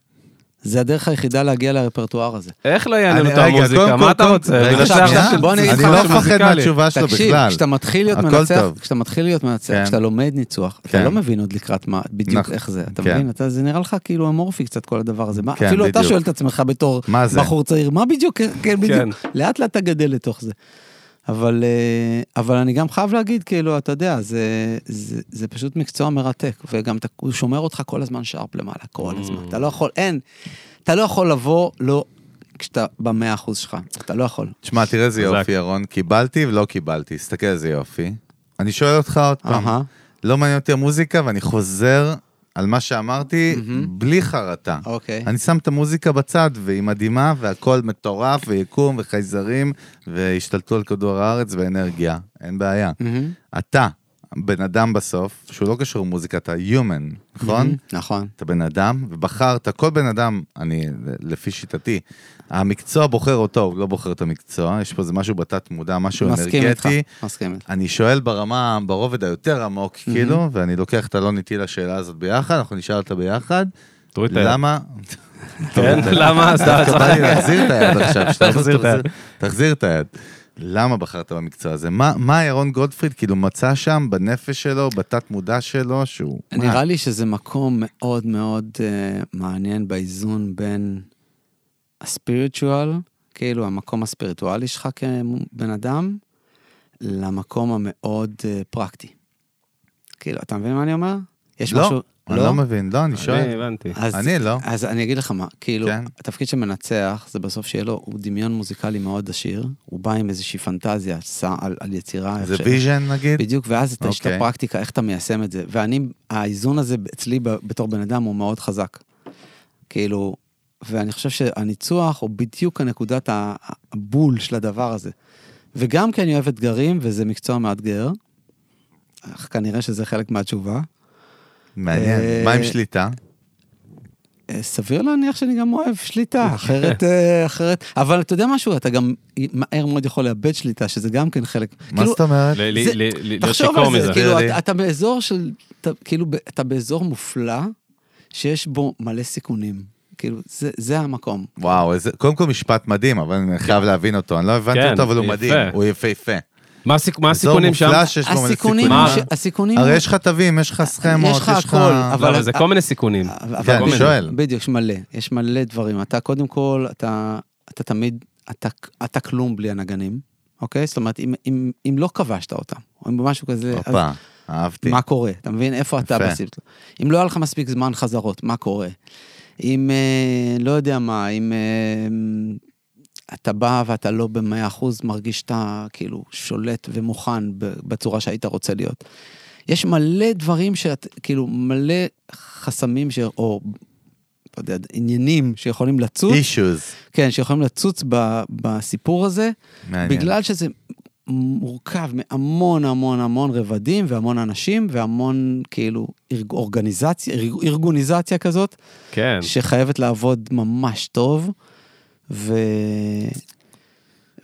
זה הדרך היחידה להגיע לרפרטואר הזה. איך לא יעניין אני- אותו רגע, המוזיקה? קודם מה כל- אתה קודם- רוצה? רגע, מנצח שנייה, של- בוא אני אגיד אני לך לא משהו מפחד מוזיקלי. מהתשובה שלו תקשיב, בכלל. כשאתה מתחיל להיות הכל מנצח, טוב. כשאתה מתחיל להיות מנצח, כן. כשאתה לומד ניצוח, כן. אתה לא מבין עוד לקראת מה, בדיוק נכ- איך זה, אתה כן. מבין? אתה- זה נראה לך כאילו אמורפי קצת כל הדבר הזה. מה- כן, אפילו אתה בדיוק. שואל את עצמך בתור מה זה? בחור צעיר, מה בדיוק, כן, כן. בדיוק. לאט לאט אתה גדל לתוך זה. אבל, אה, אבל אני גם חייב להגיד, כאילו, אתה יודע, זה, זה, זה פשוט מקצוע מרתק, וגם אתה, הוא שומר אותך כל הזמן שרפ למעלה, כל הזמן. אתה לא יכול, אין, אתה לא יכול לבוא, לא, כשאתה במאה אחוז שלך, אתה לא יכול. תשמע, תראה איזה חזק. יופי, ירון. קיבלתי ולא קיבלתי, תסתכל איזה יופי. אני שואל אותך עוד אהה. פעם. לא מעניין אותי המוזיקה, ואני חוזר על מה שאמרתי בלי חרטה. אוקיי. אני שם את המוזיקה בצד, והיא מדהימה, והכל מטורף, ויקום, וחייזרים, והשתלטו על כדור הארץ ואנרגיה. אין בעיה. מהמם. אתה, בן אדם בסוף, שהוא לא קשור למוזיקה, אתה human, נכון? נכון. אתה בן אדם, ובחרת, כל בן אדם, אני, לפי שיטתי, המקצוע בוחר אותו, הוא לא בוחר את המקצוע, יש פה איזה משהו בתת מודע, משהו מסכים איתך, אנרגטי. מסכים איתך. אני שואל ברמה, ברובד היותר עמוק, כאילו, ואני לוקח את אלון איתי לשאלה הזאת ביחד, אנחנו נשאל אותה ביחד. תוריד את היד. למה? כן, למה? סתם, דווקא בא לי להחזיר את היד עכשיו, שאתה אומר, תחזיר את היד. תחזיר את היד. למה בחרת במקצוע הזה? מה, מה ירון גולדפריד כאילו מצא שם בנפש שלו, בתת מודע שלו, שהוא... נראה לי שזה מקום מאוד מאוד אה, מעניין באיזון בין הספיריטואל, כאילו המקום הספיריטואלי שלך כבן אדם, למקום המאוד אה, פרקטי. כאילו, אתה מבין מה אני אומר? יש לא, משהו... אני לא מבין, לא, אני אני שואל. הבנתי. אז, אני לא. אז אני אגיד לך מה, כאילו, כן. כן. התפקיד של מנצח זה בסוף שיהיה לו, הוא דמיון מוזיקלי מאוד עשיר, הוא בא עם איזושהי פנטזיה סע, על, על יצירה. לא זה איך ש- ויז'ן נגיד? בדיוק, ואז אתה- יש את אוקיי. הפרקטיקה, איך אתה מיישם את זה. ואני, האיזון הזה אצלי ב- בתור בן אדם הוא מאוד חזק. כאילו, ואני חושב שהניצוח הוא בדיוק הנקודת ה- הבול של הדבר הזה. וגם כי אני אוהב אתגרים, וזה מקצוע מאתגר, אך כנראה שזה חלק מהתשובה. מעניין. אה, מה עם שליטה? אה, סביר להניח שאני גם אוהב שליטה, אחרת, אה, אחרת, אבל אתה יודע משהו, אתה גם מהר מאוד יכול לאבד שליטה, שזה גם כן חלק. מה כאילו, זאת אומרת? ל- ל- זה- ל- ל- להיות תחשוב שיכור על זה, מזה. כאילו, לי. אתה, אתה באזור של, אתה, כאילו, ב- אתה באזור מופלא, שיש בו מלא סיכונים. כאילו, זה, זה המקום. וואו, איזה- קודם כל משפט מדהים, אבל אני חייב להבין אותו, אני לא הבנתי כן, אותו, אבל הוא יפה. מדהים, הוא יפהפה. מה הסיכ- מה הסיכונים שם? אזור מופלא שיש לו מלא הסיכונים, סיכונים. מה? ש, הסיכונים, הרי יש לך תווים, יש לך סכמות, יש לך הכל, אבל- לא, אבל זה כל מיני סיכונים. אבל- כן, אבל- אני שואל. בדיוק, יש מלא, יש מלא דברים. אתה קודם כל, אתה, אתה תמיד, אתה, אתה כלום בלי הנגנים. אוקיי? זאת אומרת, אם, אם, אם לא כבשת אותם, או אם משהו כזה, אז הופה, אהבתי. מה קורה? אתה מבין? איפה אתה כן. יפה. בסיפור? אם לא היה לך מספיק זמן חזרות, מה קורה? אם, אה, לא יודע מה, אם אה, אתה בא ואתה לא במאה אחוז מרגיש שאתה כאילו שולט ומוכן ב- בצורה שהיית רוצה להיות. יש מלא דברים שאת, כאילו, מלא חסמים ש... או, לא יודע, עניינים שיכולים לצוץ, איש. אישוז. כן, שיכולים לצוץ ב, בסיפור הזה, מעניין. בגלל שזה מורכב מהמון המון המון רבדים והמון אנשים והמון כאילו ארג- אורגניזציה, ארג- ארגוניזציה כזאת, כן. שחייבת לעבוד ממש טוב, ו...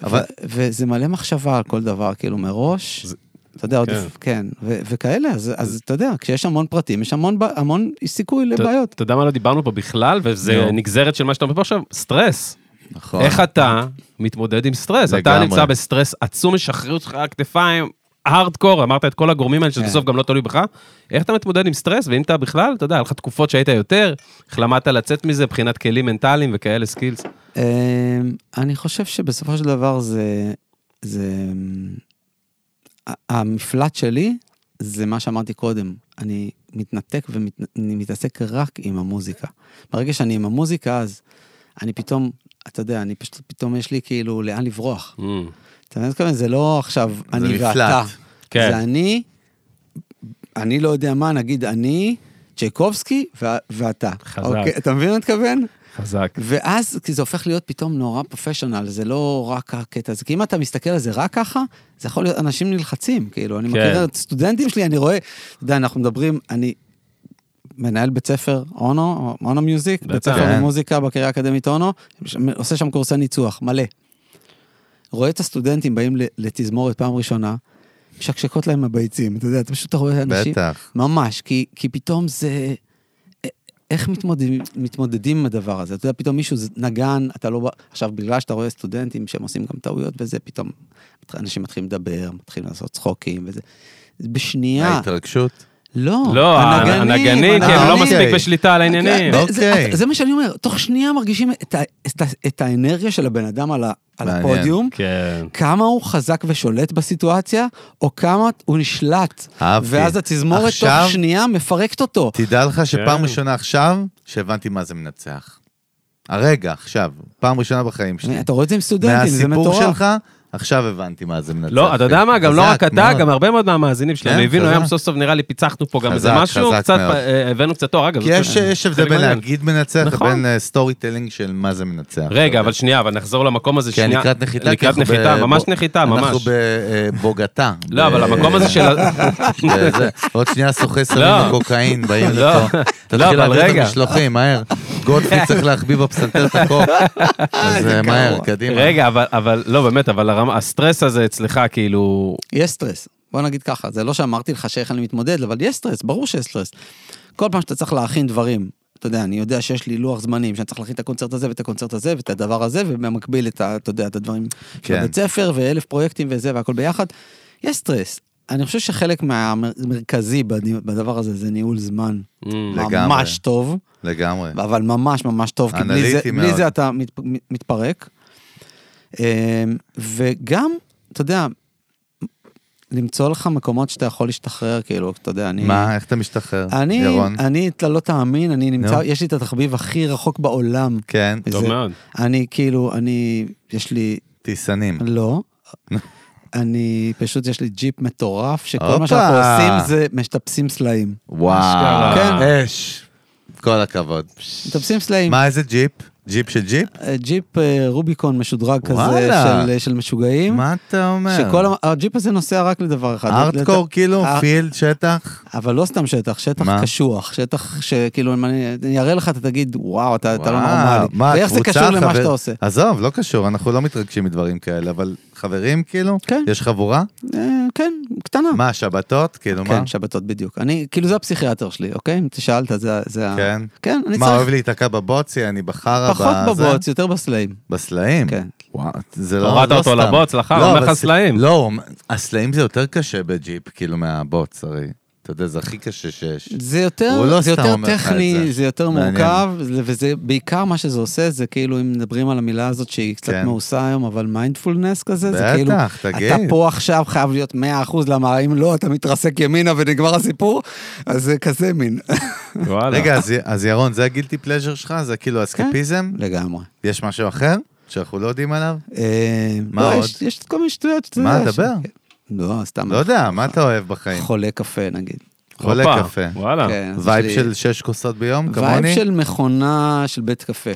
אבל- אבל... ו- וזה מלא מחשבה על כל דבר, כאילו מראש. זה- אתה יודע, עוד, כן. כן, ו- וכאלה, אז, אז אתה יודע, כשיש המון פרטים, יש המון, ב- המון סיכוי לבעיות. אתה יודע מה לא דיברנו פה בכלל, וזה נו. נגזרת של מה שאתה אומר פה עכשיו? סטרס. נכון. איך אתה מתמודד עם סטרס? אתה לגמרי. נמצא בסטרס עצום, משחרר אותך הכתפיים, הארדקור, אמרת את כל הגורמים האלה, שזה כן. בסוף גם לא תלוי בך. איך אתה מתמודד עם סטרס, ואם אתה בכלל, אתה יודע, היה לך תקופות שהיית יותר, איך למדת לצאת מזה מבחינת כלים מנטליים וכאלה סקילס. אמ, אני חושב שבסופו של דבר זה, זה, אמ, ה- המפלט שלי זה מה שאמרתי קודם, אני מתנתק ומתעסק רק עם המוזיקה. ברגע שאני עם המוזיקה, אז אני פתאום, אתה יודע, אני פשוט, פתאום יש לי כאילו לאן לברוח. Mm. אתה מבין? מה אני מתכוון? זה לא עכשיו אני ואתה. מפלט. כן. זה אני, אני לא יודע מה, נגיד אני, צ'ייקובסקי ו- ואתה. חזק. אוקיי, אתה מבין מה אני מתכוון? חזק. ואז כי זה הופך להיות פתאום נורא פרופשיונל, זה לא רק הקטע הזה. כי אם אתה מסתכל על זה רק ככה, זה יכול להיות, אנשים נלחצים, כאילו, אני כן. מכיר את סטודנטים שלי, אני רואה, אתה יודע, אנחנו מדברים, אני מנהל בית ספר אונו, אונו מיוזיק, בית בטח. ספר כן. למוזיקה בקריה האקדמית אונו, ש- עושה שם קורסי ניצוח, מלא. רואה את הסטודנטים באים ל- לתזמורת פעם ראשונה, משקשקות להם הביצים, אתה יודע, אתה פשוט רואה אנשים, בטח. ממש, כי, כי פתאום זה... א- איך מתמודדים, מתמודדים עם הדבר הזה? אתה יודע, פתאום מישהו זה נגן, אתה לא... ב- עכשיו, בגלל שאתה רואה סטודנטים שהם עושים גם טעויות וזה, פתאום מת- אנשים מתחילים לדבר, מתחילים לעשות צחוקים וזה. בשנייה, ההתרגשות. לא, לא, הנגנים, כן, הם לא הנגנים. מספיק בשליטה על העניינים. אוקיי. זה- זה- זה מה שאני אומר, תוך שנייה מרגישים את ה- את ה- את האנרגיה של הבן אדם על ה- על מעניין. הפודיום, כן. כמה הוא חזק ושולט בסיטואציה, או כמה הוא נשלט. אהבתי. ואז התזמורת עכשיו- תוך שנייה מפרקת אותו. תדע לך שפעם כן. ראשונה עכשיו, שהבנתי מה זה מנצח. הרגע, עכשיו, פעם ראשונה בחיים שלי. אתה רואה את זה עם סטודנטים, זה מטורף. מהסיפור שלך, עכשיו הבנתי מה זה מנצח. לא, אתה יודע מה, גם לא חזק רק אתה, מאוד. גם הרבה מאוד מהמאזינים שלנו כן, הבינו, חזק. היום סוף סוף נראה לי פיצחנו פה גם חזק, איזה משהו, חזק קצת מאוד. אה, הבאנו קצת תואר, אגב. כי זה- יש- יש הבדל חלק בין מהעניין. להגיד מנצח נכון. לבין סטורי טלינג של מה זה מנצח. אתה רגע, אבל יודע. שנייה, אבל נחזור למקום הזה כן, שנייה. לקראת נחיתה. אוקיי. כי לקראת אנחנו נחיתה, ב- ממש ב- אה, נחיתה, אנחנו ממש. בבוגתה. לא, אבל המקום הזה של... ה- כן, אה, עוד שנייה סוחי סמים לא. עם קוקאין באים לא. לפה. לא, תתחיל אבל להביא את רגע. המשלוחים, מהר. גודפי צריך להחביא בפסנתר את הקוק. אז אה, מהר, קדימה. רגע, אבל- אבל, לא, באמת, אבל הרמה- הסטרס הזה אצלך, כאילו... יש סטרס, בוא נגיד ככה, זה לא שאמרתי לך שאיך אני מתמודד, אבל יש סטרס, ברור שיש סטרס. כל פעם שאתה צריך להכין דברים, אתה יודע, אני יודע שיש לי לוח זמנים, שאני צריך להכין את הקונצרט הזה ואת הקונצרט הזה ואת הדבר הזה, ובמקביל את ה... אתה יודע, את הדברים של כן. הבית ספר, ואלף פרויקטים וזה והכל ביחד. יש סטרס. אני חושב שחלק מהמרכזי בדבר הזה זה ניהול זמן mm, לגמרי. ממש טוב. לגמרי. אבל ממש ממש טוב, כי בלי זה, אנליטי מאוד. בלי זה אתה מת, מתפרק. אמ, וגם, אתה יודע, למצוא לך מקומות שאתה יכול להשתחרר, כאילו, אתה יודע, אני... מה, איך אתה משתחרר, אני, ירון? אני, אתה לא תאמין, אני נמצא, נו. יש לי את התחביב הכי רחוק בעולם. כן, טוב זה- מאוד. אני כאילו, אני, יש לי, טיסנים. לא. אני, פשוט יש לי ג'יפ מטורף, שכל הופה. מה שאנחנו עושים זה משתפסים סלעים. וואו. אשכרה. כן. אש. כל הכבוד. משתפסים סלעים. מה, איזה ג'יפ? ג'יפ של ג'יפ? אה, ג'יפ אה, רוביקון משודרג כזה וואלה. של, של משוגעים. מה אתה אומר? שכל המ- הג'יפ הזה נוסע רק לדבר אחד. ארטקור לת- כאילו? אה, פילד? שטח? אבל לא סתם שטח, שטח מה? קשוח, שטח שכאילו, אם אני אני אראה לך, אתה תגיד, וואו, אתה אתה לא וואו, נורמלי. מה, ואיך זה קבוצה, קשור למה חבר- שאתה עושה? עזוב, לא קשור, אנחנו לא מתרגשים מדברים כאלה, אבל חברים כאילו? כן. יש חבורה? אה, כן, קטנה. מה, שבתות? כאילו מה? כן, שבתות בדיוק. אני, כאילו זה הפסיכיאטר שלי, אוקיי? אם שאלת, זה ה... זה ה- כן? כן, אני מה, אוהב צריך להיתקע בבוצי, אני בחרא, פחות בזה? בבוץ, יותר בסלעים. בסלעים? כן. וואו, זה לא... הורדת לא אותו סתם. לבוץ, לחר, לא, אומר אבל לך ס- סלעים. לא, הסלעים זה יותר קשה בג'יפ, כאילו, מהבוץ, הרי. אתה יודע, זה הכי קשה שיש. זה יותר, הוא לא זה סתם יותר אומר לך את טכני, זה. זה יותר מעניין. מורכב, וזה בעיקר מה שזה עושה, זה כאילו, אם מדברים על המילה הזאת שהיא קצת כן. מאוסה היום, אבל מיינדפולנס כזה, זה כאילו, בטח, תגיד. אתה פה עכשיו חייב להיות 100%, למה אם לא, אתה מתרסק ימינה ונגמר הסיפור, אז זה כזה מין. וואלה. רגע, אז- אז ירון, זה הגילטי פלז'ר שלך? זה כן. כאילו אסקפיזם? לגמרי. יש משהו אחר שאנחנו לא יודעים עליו? אה, מה לא, עוד? יש- יש כל מיני שטויות שאתה מה, יודע ש- דבר. לא, סתם. לא יודע, מה אתה אוהב בחיים? חולה קפה נגיד. חולה הופה, קפה. וואלה. כן, אז יש וייב לי- של שש כוסות ביום, וייב כמוני? של מכונה של בית קפה.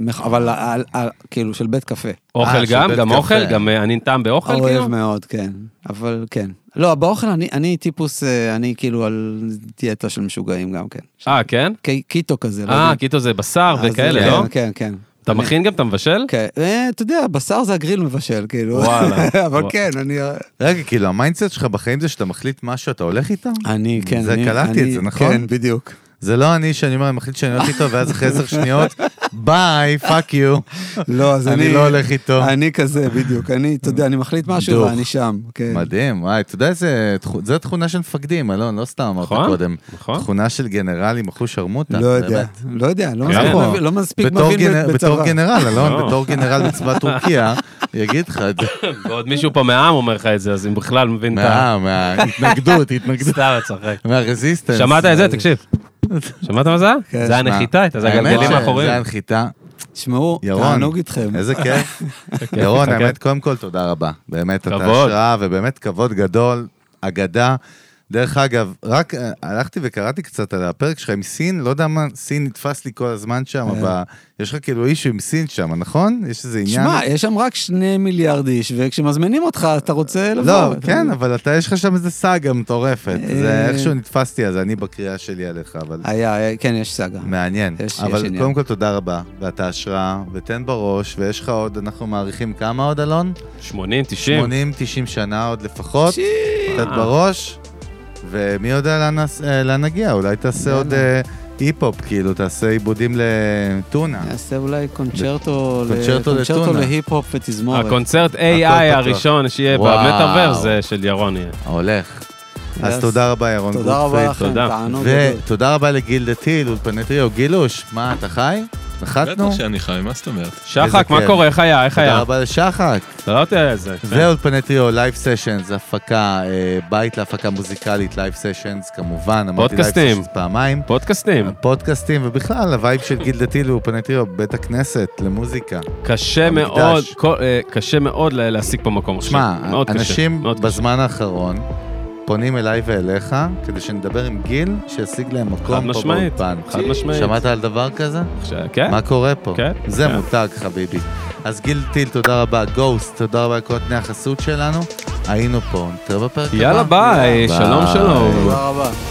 מכ- אבל על- על- כאילו של בית קפה. אה, אוכל של גם? בית גם קפה. אוכל? גם אה, אני נטעם באוכל כאילו? אוהב מאוד, כן. אבל כן. לא, באוכל אני, אני טיפוס, אה, אני כאילו על דיאטה של משוגעים גם כן. אה, כן? קי- קיטו כזה. לא אה, יודע. קיטו זה בשר אז וכאלה, כן, לא? כן, כן. אתה אני- מכין גם? אתה מבשל? כן. אה, אתה יודע, בשר זה הגריל מבשל, כאילו. וואלה. אבל וואלה. כן, אני... רגע, כאילו, המיינדסט שלך בחיים זה שאתה מחליט משהו, אתה הולך איתו? אני, כן. זה אני- קלטתי את אני- זה, נכון? כן, בדיוק. זה לא אני שאני אומר, אני מחליט שאני הולך איתו, ואז אחרי עשר שניות, ביי, פאק יו. לא, אז אני... אני לא הולך איתו. אני כזה, בדיוק. אני, אתה יודע, אני מחליט משהו דוך. ואני שם. כן. מדהים, וואי, אתה יודע איזה, תכו- זו תכונה של מפקדים, אלון, לא סתם אמרת נכון, קודם. נכון. תכונה של גנרלים, אחו שרמוטה. לא יודע, באמת. לא יודע, לא כן. מספיק נכון. מבין- לא מספיק בתור מבין גנ- ב- בתור בצבא. גנרל, אלון, לא. בתור גנרל בצבא טורקיה, יגיד לך את זה. נכון. ועוד מישהו פה מהעם אומר לך את זה, אז אם בכלל מבין את ה... מה- מההתנגדות, התנגדות. סתם, אתה צוחק. מהרזיסטנס. שמעת את זה? תקשיב. שמעת מה זה היה? כן, זה היה מה? נחיתה, הייתה, זה האמת הגלגלים ש- האחוריים. זה הנחיתה. תשמעו, ירון. תענוג איתכם. איזה כיף. ירון, כיף. האמת, קודם כל, תודה רבה. באמת, אתה כבוד. השראה, ובאמת כבוד גדול, אגדה. דרך אגב, רק אה, הלכתי וקראתי קצת על הפרק שלך עם סין, לא יודע מה, סין נתפס לי כל הזמן שם, אה. אבל יש לך כאילו אישו עם סין שם, נכון? יש איזה עניין? שמע, יש שם רק שני מיליארד איש, וכשמזמינים אותך, אתה רוצה לבוא. לא, אתה- כן, אבל אתה, יש לך שם איזה סאגה מטורפת. זה אה. איכשהו נתפסתי, אז אני בקריאה שלי עליך, אבל היה, היה- כן, יש סאגה. מעניין. יש- יש אבל עניין. קודם כל, תודה רבה, ואתה השראה, ותן בראש, ויש לך עוד, אנחנו מעריכים כמה עוד, אלון? 80, 90. 80, 90 שנה עוד לפחות, שי. קצת בראש, ומי יודע לאן נס- אה, לאן נגיע, אולי תעשה עוד אה, היפ-הופ, כאילו, תעשה עיבודים לטונה. נעשה אולי קונצ'רטו, ל- קונצ'רטו קונצ'רטו לטונה. להיפ-הופ ותזמורת. הקונצרט הכל AI פתוח. הראשון שיהיה וואו. במטאוורס זה של ירון יהיה. הולך. אז Yes. תודה רבה, ירון תודה רבה גוטפריד. לכם, תודה. תענוג. גדול. ותודה רבה לגילדה טיל, אולפני טריו, גילוש, מה, אתה חי? בטח נחתנו? שאני חי, מה זאת אומרת? שחק, מה כיף. קורה? איך היה? איך תודה היה? רבה לשחק. אתה לא יודע איזה. ואולפני טריו, לייב סשנס, הפקה, אה, בית להפקה מוזיקלית, לייב סשנס, כמובן, אמרתי לייב פודקאסטים. סשנס פעמיים. כן. פודקאסטים. פודקאסטים, ובכלל, הווייב של גילדה טיל ואולפני טריו, בית הכנסת למוזיקה. קשה המקדש. מאוד, כל- אה, קשה מאוד לה- להשיג פה מקום עכשיו. שמע, מאוד קשה, אנשים מאוד קשה. בזמן האחרון פונים אליי ואליך, כדי שנדבר עם גיל, שישיג להם חד מקום פה משמעית, באולפן. חד משמעית. שמעת על דבר כזה? עכשיו, כן? מה קורה פה? כן, זה כן. מותג, חביבי. אז גיל טיל, תודה רבה. גוסט, תודה רבה לכל נותני החסות שלנו. היינו פה, נתראה בפרק הבא. יאללה ביי, שלום שלום. תודה רבה.